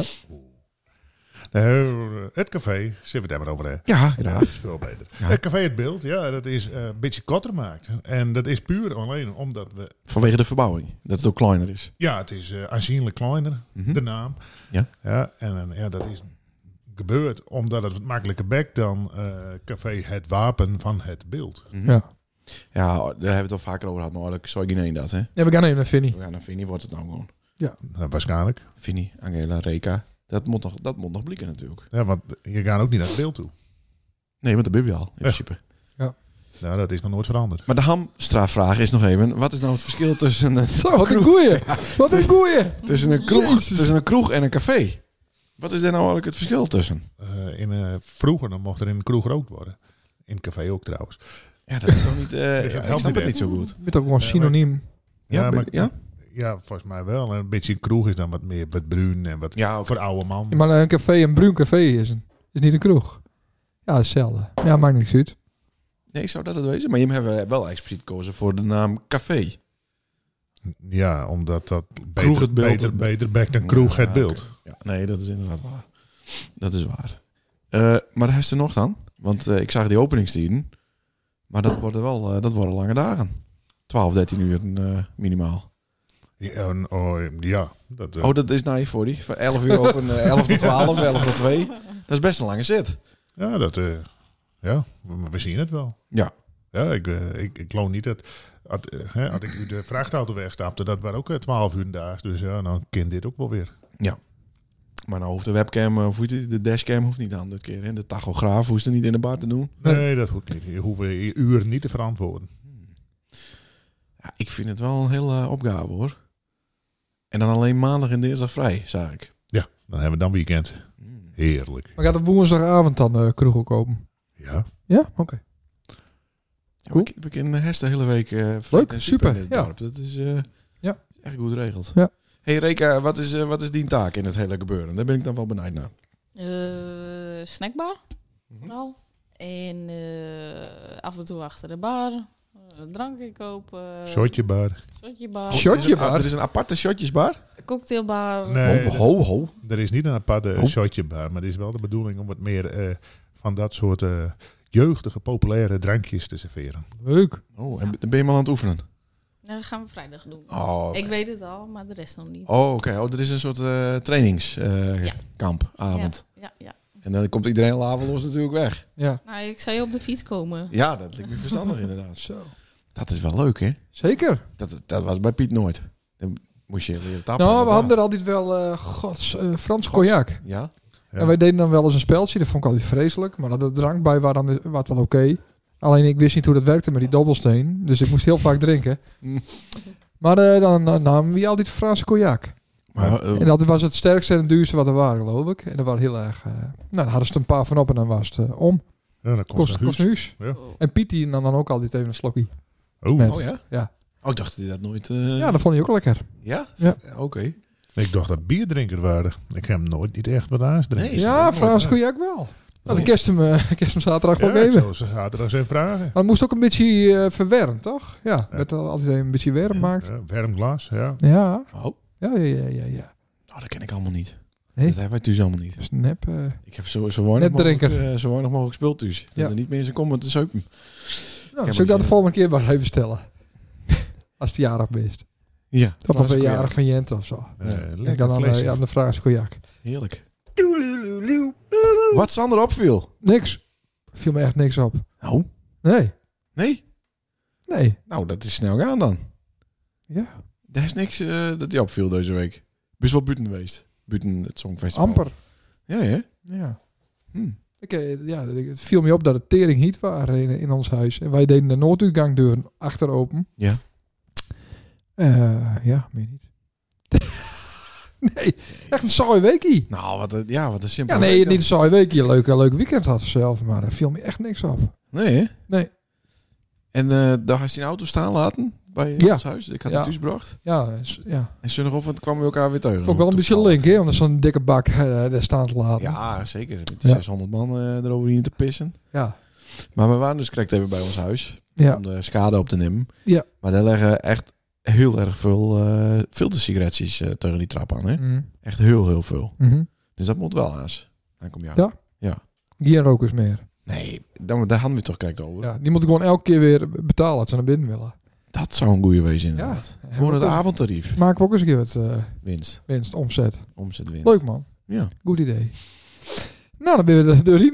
Speaker 6: Eh, het café, zitten we het maar over hè?
Speaker 2: Ja, graag.
Speaker 6: Dat is veel beter. Het café Het Beeld, ja, dat is eh, een beetje korter maakt. En dat is puur alleen omdat we...
Speaker 2: Vanwege de verbouwing. Dat het ook kleiner is.
Speaker 6: Ja, het is eh, aanzienlijk kleiner,
Speaker 2: Mhm.
Speaker 6: de naam.
Speaker 2: Ja.
Speaker 6: ja en eh, ja, dat is gebeurd omdat het wat makkelijker bekt dan eh, café Het Wapen van Het Beeld.
Speaker 2: Mhm.
Speaker 1: Ja.
Speaker 2: Ja, daar hebben we het al vaker over gehad. Maar eigenlijk zou ik niet één dat, hè?
Speaker 1: Ja, we gaan even naar Vinnie.
Speaker 2: Ja, nou, Vinnie wordt het nou gewoon.
Speaker 6: Nou, waarschijnlijk.
Speaker 2: Vinnie, Angela, Reka. Dat moet nog, dat moet nog blikken natuurlijk.
Speaker 6: Ja, want je gaat ook niet naar het beeld toe.
Speaker 2: Nee, want de Biblia al, in principe.
Speaker 6: Nou, dat is nog nooit veranderd.
Speaker 2: Maar de hamstrafvraag is nog even. Wat is nou het verschil tussen
Speaker 1: [laughs]
Speaker 2: een,
Speaker 1: Zo, wat een goeie. Wat een goeie.
Speaker 2: tussen een, kroeg,
Speaker 1: Jezus.
Speaker 2: tussen een kroeg en een café? Wat is daar nou eigenlijk het verschil tussen?
Speaker 6: Eh, in, eh, vroeger dan mocht er in de kroeg gerookt worden. In het café ook trouwens.
Speaker 2: Ja, dat [laughs] is toch niet... eh
Speaker 6: dat
Speaker 2: ik
Speaker 6: helpt
Speaker 2: snap
Speaker 6: niet
Speaker 2: het
Speaker 6: echt.
Speaker 2: niet zo goed.
Speaker 1: Je bent ook gewoon synoniem.
Speaker 2: Ja,
Speaker 6: maar,
Speaker 2: ben- ja?
Speaker 6: ja, volgens mij wel. En Een beetje kroeg is dan wat meer wat bruin en wat
Speaker 2: Ja, oké.
Speaker 6: voor oude man.
Speaker 1: Ja, maar eh, een café, een bruin café is, een, is niet een kroeg. Ja, hetzelfde. Ja, maakt niks uit.
Speaker 2: Nee, zou dat het wezen? Maar je hebben wel expliciet gekozen voor de naam café.
Speaker 6: Ja, omdat dat
Speaker 2: Kroeg
Speaker 6: beter,
Speaker 2: het beeld.
Speaker 6: beter, beter bekt dan kroeg
Speaker 2: Ja,
Speaker 6: het beeld.
Speaker 2: oké. Ja, nee, dat is inderdaad waar. Dat is waar. Eh, maar de rest er nog dan? Want eh, ik zag die openingstijden. Maar dat worden wel eh, dat worden lange dagen. 12, 13 uur eh, minimaal.
Speaker 6: Ja, en- oh, ja, dat, eh,
Speaker 2: Oh, dat is naïef voor die. Van 11 uur open, eh, [laughs] 11 tot 12, 11 tot 2. Dat is best een lange zit.
Speaker 6: ja, dat, eh, ja we, we zien het wel.
Speaker 2: Ja.
Speaker 6: Ja, ik, eh, ik, ik loon niet dat... Had, eh, hè, had ik nu de vrachtauto wegstapte, dat waren ook eh, 12 uur daags. Dus ja, nou kind dit ook wel weer.
Speaker 2: Maar nou hoeft de webcam, eh, of hoe heet die, de dashcam hoeft niet aan dit keer. Hè? De tachograaf hoeft er niet in de bar te doen.
Speaker 1: Nee.
Speaker 6: Nee, dat hoeft niet. Je hoeft eh, je uren niet te verantwoorden.
Speaker 2: Ja, ik vind het wel een hele eh, opgave hoor. En dan alleen maandag en dinsdag vrij, zag ik.
Speaker 6: Ja, dan hebben we dan weekend.
Speaker 2: Hmm.
Speaker 6: Heerlijk.
Speaker 1: Maar gaat op woensdagavond dan eh kroeg ook open?
Speaker 6: Ja.
Speaker 1: Ja? Oké.
Speaker 2: Ja,
Speaker 1: Cool.
Speaker 2: We, we kennen Hest de hele week. eh, vreten
Speaker 1: Leuk, super,
Speaker 2: en super. In het
Speaker 1: ja.
Speaker 2: dorp. Dat is eh,
Speaker 1: Ja.
Speaker 2: echt goed geregeld.
Speaker 1: Ja.
Speaker 2: hey Reka, wat is, eh, wat is die taak in het hele gebeuren? Daar ben ik dan wel benieuwd naar.
Speaker 7: [laughs] Eh, snackbar,
Speaker 2: Mhm.
Speaker 7: vooral. En eh, af en toe achter de bar. eh, drankje kopen.
Speaker 6: Shotje bar.
Speaker 7: Shotje bar.
Speaker 1: Shot- Shotjebar?
Speaker 2: Er is een- Er is een aparte shotjesbar.
Speaker 7: cocktailbar.
Speaker 6: Nee,
Speaker 2: ho, ho, ho.
Speaker 6: er is niet een aparte
Speaker 2: Oh.
Speaker 6: shotje bar, maar het is wel de bedoeling om wat meer eh, van dat soort eh, jeugdige, populaire drankjes te serveren.
Speaker 1: Leuk.
Speaker 2: Oh, en ben je maar aan het oefenen?
Speaker 7: Nou, dat gaan we vrijdag doen.
Speaker 2: Oh, oké.
Speaker 7: Ik weet het al, maar de rest nog niet.
Speaker 2: Oh, oké. Oh, er is een soort
Speaker 7: Ja.
Speaker 2: trainingskampavond.
Speaker 7: Ja, ja.
Speaker 2: En dan komt iedereen laveloos natuurlijk weg.
Speaker 1: Ja.
Speaker 7: Nou, ik zou je op de fiets komen.
Speaker 2: Ja, dat lijkt me verstandig inderdaad.
Speaker 1: Zo.
Speaker 2: Dat is wel leuk, hè?
Speaker 1: Zeker.
Speaker 2: Dat, dat was bij Piet nooit. Dan moest je leren tappen.
Speaker 1: Nou, we
Speaker 2: inderdaad.
Speaker 1: hadden er altijd wel eh, gods, eh, Frans cognac.
Speaker 2: Ja?
Speaker 6: Ja.
Speaker 1: En wij deden dan wel eens een speltje. Dat vond ik altijd vreselijk. Maar de drank bij was dan was wel oké. Alleen ik wist niet hoe dat werkte met die dobbelsteen. Dus ik moest heel vaak drinken.
Speaker 2: Mm.
Speaker 1: Maar eh, dan, dan namen we altijd Franse cognac.
Speaker 2: Maar, eh,
Speaker 1: En dat was het sterkste en het duurste wat er waren, geloof ik. En dat was heel erg... eh, nou, dan hadden ze er een paar van op en dan was het eh, om.
Speaker 6: Ja, dan
Speaker 1: Kost,
Speaker 6: komt
Speaker 1: kost een huis.
Speaker 6: Ja.
Speaker 1: En Piet die nam dan ook altijd even een slokje.
Speaker 6: Oh,
Speaker 1: Met.
Speaker 2: oh ja?
Speaker 1: Ja.
Speaker 2: Oh, ik dacht dat hij dat nooit... eh,
Speaker 1: Ja, dat vond hij ook lekker.
Speaker 2: Ja?
Speaker 1: Ja.
Speaker 2: Oké.
Speaker 6: ik dacht dat bierdrinker waren. Ik heb hem nooit niet echt wat aasdrinken.
Speaker 2: Nee, Is dat
Speaker 1: Ja,
Speaker 2: ook
Speaker 1: Frans
Speaker 6: mooi?
Speaker 1: cognac wel. Nou, dan kerst hem, eh, [laughs] kerst hem zaterdag
Speaker 6: Ja,
Speaker 1: wel
Speaker 6: ik
Speaker 1: nemen.
Speaker 6: zou ze zaterdag zijn vragen.
Speaker 1: Maar het moest ook een beetje eh, verwarmd, toch? Ja,
Speaker 6: Ja.
Speaker 1: werd al altijd een beetje warm gemaakt.
Speaker 6: Ja, warm glas, ja.
Speaker 1: Ja,
Speaker 2: Oh, nou,
Speaker 1: ja, ja, ja, ja. ja.
Speaker 2: dat ken ik allemaal niet.
Speaker 1: Nee?
Speaker 2: Dat hebben wij thuis allemaal niet.
Speaker 1: Dus nep. eh,
Speaker 2: Ik heb zo, zo weinig mogelijk,
Speaker 1: Netdrinker.
Speaker 2: eh, zo weinig mogelijk spul thuis. Dat
Speaker 1: Ja.
Speaker 2: er niet meer eens een comment te zeupen.
Speaker 1: nou,
Speaker 2: maar
Speaker 1: zul ik dat de
Speaker 2: je-
Speaker 1: volgende keer maar even stellen? [laughs] Als die jarig bent.
Speaker 2: Ja.
Speaker 1: Of
Speaker 2: Frans
Speaker 1: op een
Speaker 2: Korea.
Speaker 1: jarig van Jent of zo.
Speaker 6: Eh,
Speaker 2: Ja.
Speaker 1: Ik
Speaker 6: lekker
Speaker 1: dan aan,
Speaker 6: flesje.
Speaker 1: de- aan de vraag is cognac.
Speaker 2: Heerlijk. Wat Sander opviel?
Speaker 1: Niks. Viel me echt niks op.
Speaker 2: Nou,
Speaker 1: Nee,
Speaker 2: nee.
Speaker 1: nee.
Speaker 2: Nou, dat is snel gaan dan.
Speaker 1: Ja,
Speaker 2: Er is niks eh, dat die opviel deze week. Best wel buiten geweest. Buiten het Songfestival.
Speaker 1: amper.
Speaker 2: Ja, hè?
Speaker 1: Ja.
Speaker 2: Hm.
Speaker 1: Ik, eh, ja, het viel me op dat het tering heat waren in, in ons huis. En wij deden de nooduitgangdeur achter open.
Speaker 2: Ja.
Speaker 1: Eh, ja, meer niet. [laughs] nee, echt een saai weekie.
Speaker 2: Nou, wat een, ja, wat een simpel.
Speaker 1: Ja, nee, niet een saai weekie. Leuk, een leuk weekend had zelf, maar er viel me echt niks op.
Speaker 2: Nee, hè?
Speaker 1: Nee.
Speaker 2: En eh, daar had je een auto staan laten bij
Speaker 1: Ja.
Speaker 2: ons huis. Ik had
Speaker 1: Ja.
Speaker 2: het thuis gebracht.
Speaker 1: Ja, s- ja.
Speaker 2: En zondagochtend kwamen we elkaar weer tegen.
Speaker 1: vond ik wel een beetje
Speaker 2: Toevallig.
Speaker 1: link, hè, om er zo'n dikke bak eh, daar staan te laten.
Speaker 2: Ja, zeker. Met die
Speaker 1: Ja.
Speaker 2: 600 man eh, eroverheen te pissen.
Speaker 1: ja.
Speaker 2: Maar we waren dus correct even bij ons huis.
Speaker 1: Ja.
Speaker 2: Om de schade op te nemen.
Speaker 1: Ja.
Speaker 2: Maar daar leggen echt heel erg veel eh filtersigaretjes eh, tegen die trap aan. Hè?
Speaker 1: Mm.
Speaker 2: Echt heel, heel veel.
Speaker 1: Mhm.
Speaker 2: Dus dat moet wel aans. Dan kom je aan.
Speaker 1: Ja? Geen rokers meer.
Speaker 2: Nee, dan, daar hadden we toch kijkt over.
Speaker 1: Ja, die moeten gewoon elke keer weer betalen als ze naar binnen willen.
Speaker 2: Dat zou een goede wezen inderdaad.
Speaker 1: Ja,
Speaker 2: Gewoon het
Speaker 1: dat is-
Speaker 2: avondtarief.
Speaker 1: Maken we ook eens een keer wat eh,
Speaker 2: Winst.
Speaker 1: winst, omzet.
Speaker 2: Omzet winst.
Speaker 1: Leuk man,
Speaker 2: Ja.
Speaker 1: goed idee. Nou, dan ben je er doorheen.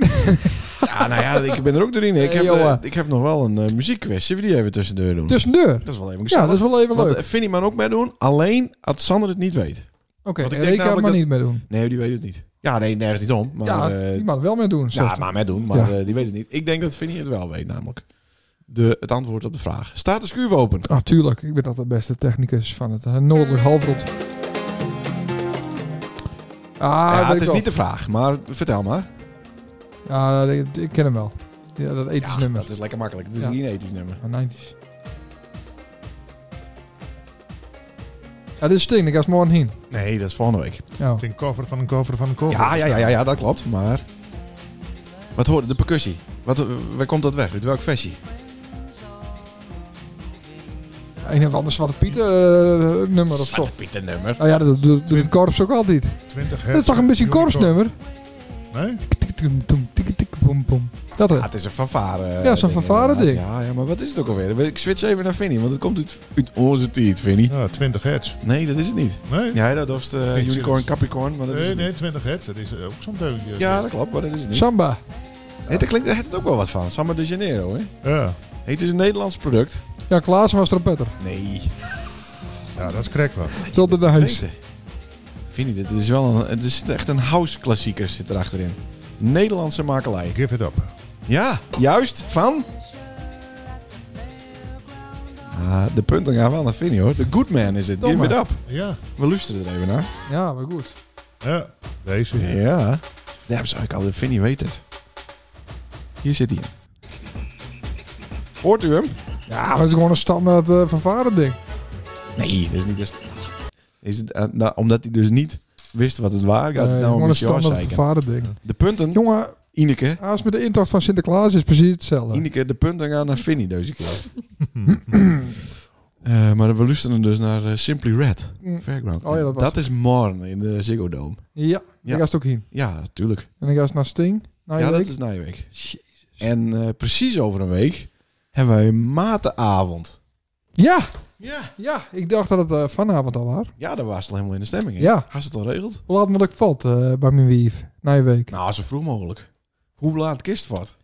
Speaker 2: ja, nou ja, ik ben er ook doorheen. Ik,
Speaker 1: Hey,
Speaker 2: heb, eh,
Speaker 1: Johan.
Speaker 2: ik heb nog wel een eh, muziekquiz. Zullen we die even tussendoor doen?
Speaker 1: Tussendoor.
Speaker 2: Dat is wel even
Speaker 1: dus Ja,
Speaker 2: gezellig.
Speaker 1: dat is wel even
Speaker 2: Want
Speaker 1: leuk.
Speaker 2: eh, Vinnie man ook mee doen, alleen als Sander het niet weet.
Speaker 1: Oké,
Speaker 2: want ik
Speaker 1: okay,
Speaker 2: denk
Speaker 1: Reka
Speaker 2: namelijk
Speaker 1: maar
Speaker 2: dat-
Speaker 1: niet meer doen.
Speaker 2: Nee, die weet het niet. Ja, nee, nergens niet om. Maar,
Speaker 1: ja,
Speaker 2: eh,
Speaker 1: die mag het wel meer doen.
Speaker 2: ja,
Speaker 1: Ja,
Speaker 2: maar met doen, maar
Speaker 1: Ja.
Speaker 2: eh, die weet het niet. Ik denk dat Vinnie het wel weet namelijk. De, het antwoord op de vraag. Staat de schuur open?
Speaker 1: Ah, tuurlijk. Ik ben altijd de beste technicus van het eh, Noordelijk Halfrond. Ah,
Speaker 2: ja,
Speaker 1: weet
Speaker 2: het
Speaker 1: ik
Speaker 2: is
Speaker 1: wel.
Speaker 2: niet de vraag, maar vertel maar.
Speaker 1: Ja, ik, ik ken hem wel. Ja, dat ethisch
Speaker 2: Ja,
Speaker 1: nummer.
Speaker 2: dat is lekker makkelijk. Het is
Speaker 1: Ja.
Speaker 2: niet een ethisch nummer.
Speaker 1: Ah, 90s. Ja, dit is Sting. Ik ga eens morgen heen.
Speaker 2: Nee, dat is volgende week.
Speaker 1: Ja.
Speaker 6: Het is een cover van een cover van een cover.
Speaker 2: Ja, ja, ja, ja, ja dat klopt, maar... Wat hoorde de percussie? Wat, eh, waar komt dat weg? Uit welk versie?
Speaker 1: Een of ander Zwarte Pieten eh, nummer of zo.
Speaker 2: Zwarte Pieter nummer.
Speaker 1: Oh ja, dat doet, doet, doet het korps ook altijd.
Speaker 6: 20
Speaker 1: Dat is toch een beetje een korpsnummer?
Speaker 6: Nee?
Speaker 1: Tikketikketum, tikketikkepom-pom. Dat
Speaker 2: Ja,
Speaker 1: hè?
Speaker 2: Ah, het is een fanfare. eh,
Speaker 1: Ja, zo'n
Speaker 2: ding
Speaker 1: fanfare
Speaker 2: inderdaad.
Speaker 1: ding.
Speaker 2: Ja, ja, maar wat is het ook alweer? Ik switch even naar Vinnie, want het komt uit, uit onze tijd, Vinnie.
Speaker 6: Ja, 20 hertz.
Speaker 2: Nee, dat is het niet.
Speaker 6: Nee?
Speaker 2: Ja, dat was de
Speaker 6: Ik zie
Speaker 2: Unicorn
Speaker 6: het.
Speaker 2: Capricorn, maar dat is
Speaker 6: nee,
Speaker 2: het
Speaker 6: nee,
Speaker 2: niet.
Speaker 6: 20 hertz. Dat is eh, ook zo'n deuntje.
Speaker 2: Ja, dat klopt, maar dat is het niet.
Speaker 1: Samba.
Speaker 2: Nee, daar klinkt daar heeft het ook wel wat van. Samba de Janeiro, hè?
Speaker 6: Ja.
Speaker 2: Hey, het is een Nederlands product.
Speaker 1: Ja, Klaassen was trompetter.
Speaker 2: Nee.
Speaker 6: ja, dat is krek wat.
Speaker 1: Tot in de huis.
Speaker 2: Weet je. Vinnie, dit is wel een... Het is echt een house-klassieker zit er achterin. Nederlandse makelij.
Speaker 6: Give it up.
Speaker 2: Ja, juist. Van? Ah, de punten gaan wel naar Vinnie, hoor. De Good Man is het. Give it
Speaker 1: Domme.
Speaker 2: up.
Speaker 6: Ja.
Speaker 2: We luisteren er even naar.
Speaker 1: Ja, maar goed.
Speaker 6: ja. Deze.
Speaker 2: Ja. Daarom zou ik al de Vinnie weet het. Hier zit hij in. Hoort u hem?
Speaker 1: Ja, Ah, maar het is gewoon een standaard eh vervaren ding.
Speaker 2: Nee, dat is niet eens. Is het, eh, nou, omdat hij dus niet wist wat het waren, gaat
Speaker 1: Nee,
Speaker 2: het
Speaker 1: het is Eh,
Speaker 2: nou een
Speaker 1: gewoon een
Speaker 2: beetje
Speaker 1: standaard
Speaker 2: afzeiken.
Speaker 1: vervaren ding.
Speaker 2: De punten,
Speaker 1: Jongen,
Speaker 2: Ineke.
Speaker 1: als met de intocht van Sinterklaas is precies hetzelfde.
Speaker 2: Ineke, de punten gaan naar Vinnie deze
Speaker 1: [laughs]
Speaker 2: keer. Eh, maar we luisteren dus naar eh, Simply Red.
Speaker 1: Mm.
Speaker 2: Fairground.
Speaker 1: Oh ja, dat was
Speaker 2: dat is morgen in de Ziggo Dome.
Speaker 1: Ja,
Speaker 2: Ja.
Speaker 1: ik ga het ook heen.
Speaker 2: Ja, tuurlijk.
Speaker 1: En ik ga eens naar Sting. Na je
Speaker 2: ja,
Speaker 1: week.
Speaker 2: dat is na je week. En eh, precies over een week hebben wij een matenavond.
Speaker 1: Ja,
Speaker 2: Ja.
Speaker 1: ja, ik dacht dat het eh, vanavond al was.
Speaker 2: Ja, daar was het al helemaal in de stemming. hè?
Speaker 1: Ja.
Speaker 2: Had ze het al regeld?
Speaker 1: Hoe laat moet ik valt eh, bij mijn wief? Na je week.
Speaker 2: Nou, zo vroeg mogelijk. Hoe laat kist wat?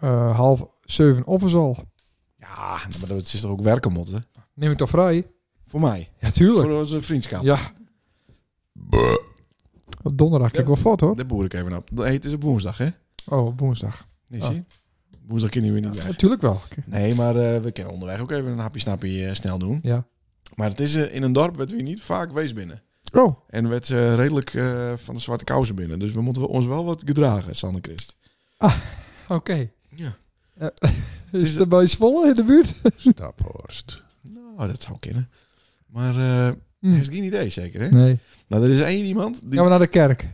Speaker 1: Eh, half zeven of is al.
Speaker 2: Ja, maar dat is toch ook werken moeten?
Speaker 1: Neem ik toch vrij?
Speaker 2: Voor mij.
Speaker 1: Ja, tuurlijk.
Speaker 2: Voor onze vriendschap.
Speaker 1: Ja. Op donderdag kijk ik wel fout hoor.
Speaker 2: Daar boer ik even op. Hey, het is op woensdag, hè?
Speaker 1: Oh, op woensdag.
Speaker 2: Nee,
Speaker 1: Ah.
Speaker 2: zie je? Woensdag kunnen we niet weg.
Speaker 1: Natuurlijk wel.
Speaker 2: Nee, maar eh, we kunnen onderweg ook even een hapje snappie eh, snel doen.
Speaker 1: Ja.
Speaker 2: Maar het is eh, in een dorp werd we niet vaak wees binnen.
Speaker 1: Oh,
Speaker 2: En werd eh, redelijk eh, van de zwarte kousen binnen. Dus we moeten ons wel wat gedragen, Sander Christ.
Speaker 1: oké.
Speaker 2: Ja.
Speaker 1: Eh,
Speaker 2: is-
Speaker 1: is het bij Zwolle in de buurt?
Speaker 2: [laughs]
Speaker 6: Staphorst.
Speaker 2: Nou, dat zou kunnen. Maar eh
Speaker 1: Hm.
Speaker 2: dat is geen idee zeker, hè?
Speaker 1: Nee.
Speaker 2: Nou, er is één iemand die...
Speaker 1: Gaan we naar de kerk?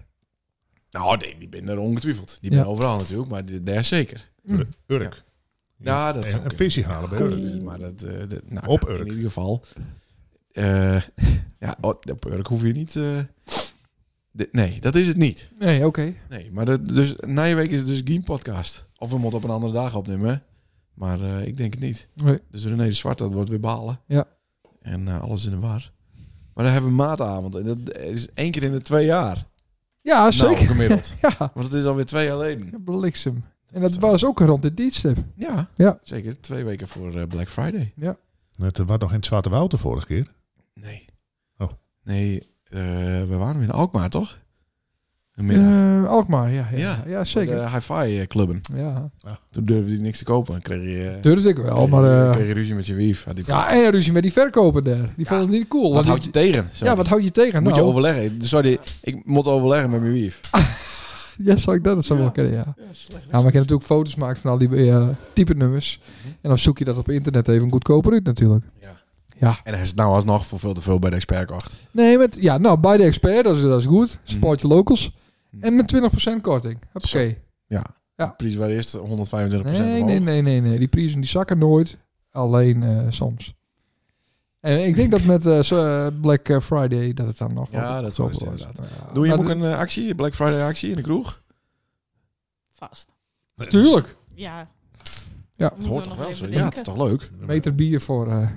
Speaker 2: Nou, die, die ben er ongetwijfeld. Die
Speaker 1: Ja.
Speaker 2: ben overal natuurlijk, maar die- daar zeker.
Speaker 1: Hm.
Speaker 6: Urk.
Speaker 2: Ja, dat zou
Speaker 6: en, een
Speaker 2: kunnen.
Speaker 6: visie halen bij Urk.
Speaker 2: Nee, maar dat, eh, dat- nou,
Speaker 6: Op
Speaker 2: ja,
Speaker 6: Urk.
Speaker 2: In ieder geval. Eh, [laughs] ja, oh, op Urk hoef je niet. eh, de- nee, dat is het niet.
Speaker 1: Nee, oké.
Speaker 2: Nee, maar dat, dus, na je week is het dus Game Podcast. Of we moeten op een andere dag opnemen. Maar eh, ik denk het niet.
Speaker 1: Nee.
Speaker 2: Dus René de Zwart, dat wordt weer balen.
Speaker 1: Ja.
Speaker 2: En eh, alles in de war. Maar dan hebben we maatavond. En dat is één keer in de twee jaar.
Speaker 1: Ja,
Speaker 2: Nou,
Speaker 1: Ah, zeker. [laughs]
Speaker 2: gemiddeld.
Speaker 1: Ja,
Speaker 2: Want het is alweer twee jaar geleden.
Speaker 1: bliksem. En dat
Speaker 2: Zo.
Speaker 1: was ook rond dit dienstip.
Speaker 2: Ja,
Speaker 1: Ja.
Speaker 2: zeker. Twee weken voor eh, Black Friday.
Speaker 6: Het eh, was nog in het Zwarte Woud de vorige keer.
Speaker 2: Nee.
Speaker 6: Oh.
Speaker 2: Nee, eh, we waren in Alkmaar, toch? Een middag.
Speaker 1: Eh Alkmaar, ja. Ja,
Speaker 2: Ja,
Speaker 1: ja,
Speaker 2: Voor
Speaker 1: zeker.
Speaker 2: De hi-fi eh, clubben.
Speaker 1: Ja.
Speaker 2: Toen durfde hij niks te kopen. Dan kreeg je, eh,
Speaker 1: Durfde ik wel,
Speaker 2: kreeg
Speaker 1: maar...
Speaker 2: je-
Speaker 1: eh,
Speaker 2: kreeg je ruzie met je wief. Had die-
Speaker 1: ja, en ruzie met die verkoper daar. Die vond het niet cool.
Speaker 2: wat
Speaker 1: want
Speaker 2: houd je
Speaker 1: die-
Speaker 2: tegen? Sorry.
Speaker 1: ja, wat houd je tegen?
Speaker 2: Moet je
Speaker 1: Nou,
Speaker 2: overleggen. Sorry, ik moet overleggen met mijn wief.
Speaker 1: [laughs] Ja, zou ik dat? Dat zou
Speaker 2: Ja.
Speaker 1: wel kunnen, ja. Ja, maar je kan natuurlijk foto's maken van al die eh, type nummers.
Speaker 2: Mhm.
Speaker 1: En dan zoek je dat op internet even goedkoper uit natuurlijk.
Speaker 2: Ja.
Speaker 1: Ja.
Speaker 2: En hij is nou alsnog voor veel te veel bij de expertkocht.
Speaker 1: Nee, met, ja, nou, bij de expert, dat is, dat is
Speaker 2: Mhm.
Speaker 1: goed. Support je locals. En met 20% korting.
Speaker 2: Zo.
Speaker 1: Oké.
Speaker 2: Ja.
Speaker 1: Ja.
Speaker 2: De prijs waar eerst 125%
Speaker 1: Nee,
Speaker 2: omhoog.
Speaker 1: nee, nee, nee, nee. Die prijzen die zakken nooit. Alleen eh, soms. En ik denk dat met eh, zo, eh, Black Friday dat het dan nog
Speaker 2: Ja, dat is
Speaker 1: wel
Speaker 2: wel
Speaker 1: goedkoper
Speaker 2: eens
Speaker 1: wordt. Ja.
Speaker 2: Doe je
Speaker 1: Maar
Speaker 2: hem ook
Speaker 1: de-
Speaker 2: een eh, actie? Black Friday actie in de kroeg?
Speaker 7: Vast.
Speaker 1: Tuurlijk.
Speaker 7: Ja.
Speaker 1: Ja,
Speaker 2: Het
Speaker 7: Moeten we
Speaker 2: hoort toch
Speaker 7: nog
Speaker 2: wel
Speaker 7: even
Speaker 2: zo? Ja,
Speaker 7: denken.
Speaker 2: het is toch leuk?
Speaker 1: Een meter bier voor eh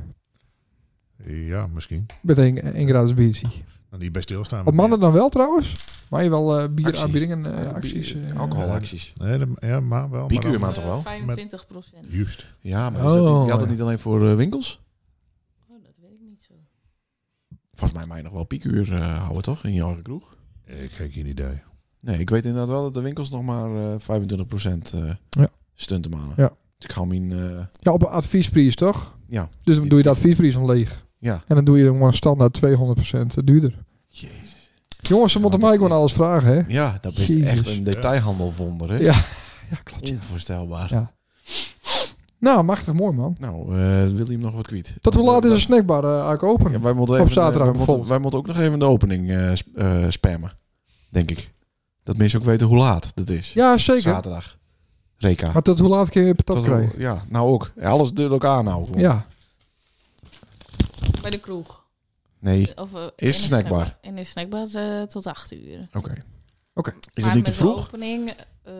Speaker 6: Ja, misschien.
Speaker 1: met een, een gratis biertje.
Speaker 6: Dan niet bij stilstaan.
Speaker 1: Wat mannen dan wel trouwens? Maar je wel eh
Speaker 2: Actie.
Speaker 1: bieraanbiedingen, eh, acties. eh,
Speaker 2: Alcoholacties.
Speaker 6: Nee, dat- ja, maar wel.
Speaker 2: Piekuur,
Speaker 6: dan-
Speaker 2: maar toch wel?
Speaker 7: 25 Eh, procent.
Speaker 6: Juist.
Speaker 2: Ja, maar is dat niet,
Speaker 1: Oh,
Speaker 2: geldt dat
Speaker 1: ja.
Speaker 2: niet alleen voor eh, winkels?
Speaker 7: Oh, dat weet ik niet zo.
Speaker 2: Volgens mij mag je nog wel piekuur eh, houden, toch? In je eigen kroeg?
Speaker 6: Ik heb geen idee.
Speaker 2: Nee, ik weet inderdaad wel dat de winkels nog maar eh, 25% eh
Speaker 1: Ja.
Speaker 2: stunt te malen.
Speaker 1: Ja.
Speaker 2: Dus ik hou mijn... eh,
Speaker 1: Ja, op een adviesprijs toch?
Speaker 2: ja,
Speaker 1: Dus dan doe je de adviesprijs om leeg.
Speaker 2: Ja.
Speaker 1: En dan doe je dan maar standaard 200% duurder.
Speaker 2: jezus.
Speaker 1: Jongens, ze moeten mij gewoon alles vragen, hè?
Speaker 2: Ja, dat is
Speaker 1: Jezus.
Speaker 2: echt een detailhandelwonder, hè?
Speaker 1: Ja, [laughs] ja klopt. ja.
Speaker 2: Onvoorstelbaar.
Speaker 1: Ja. Nou, machtig mooi, man.
Speaker 2: Nou, eh, wil je hem nog wat kwijt?
Speaker 1: Tot hoe laat is een snackbar eh eigenlijk open?
Speaker 2: Ja, wij moeten
Speaker 1: Op
Speaker 2: even, eh,
Speaker 1: zaterdag
Speaker 2: wij moeten,
Speaker 1: bijvoorbeeld.
Speaker 2: wij moeten ook nog even de opening eh, sp- eh, spammen, denk ik. Dat mensen ook weten hoe laat dat is.
Speaker 1: Ja, zeker.
Speaker 2: Zaterdag. Reka.
Speaker 1: Maar tot hoe laat kun je patat
Speaker 2: Tot hoe-
Speaker 1: krijgen?
Speaker 2: ja, nou ook. Ja, alles door elkaar nou. gewoon.
Speaker 1: Ja.
Speaker 7: Bij de kroeg.
Speaker 2: Nee, is
Speaker 7: Of, eh, in
Speaker 2: de
Speaker 7: de
Speaker 2: snackbar.
Speaker 7: En de snackbar eh, tot 8 uur.
Speaker 2: Oké.
Speaker 1: Oké.
Speaker 2: Is
Speaker 7: Maar
Speaker 2: dat niet te
Speaker 7: met
Speaker 2: vroeg?
Speaker 7: de opening eh,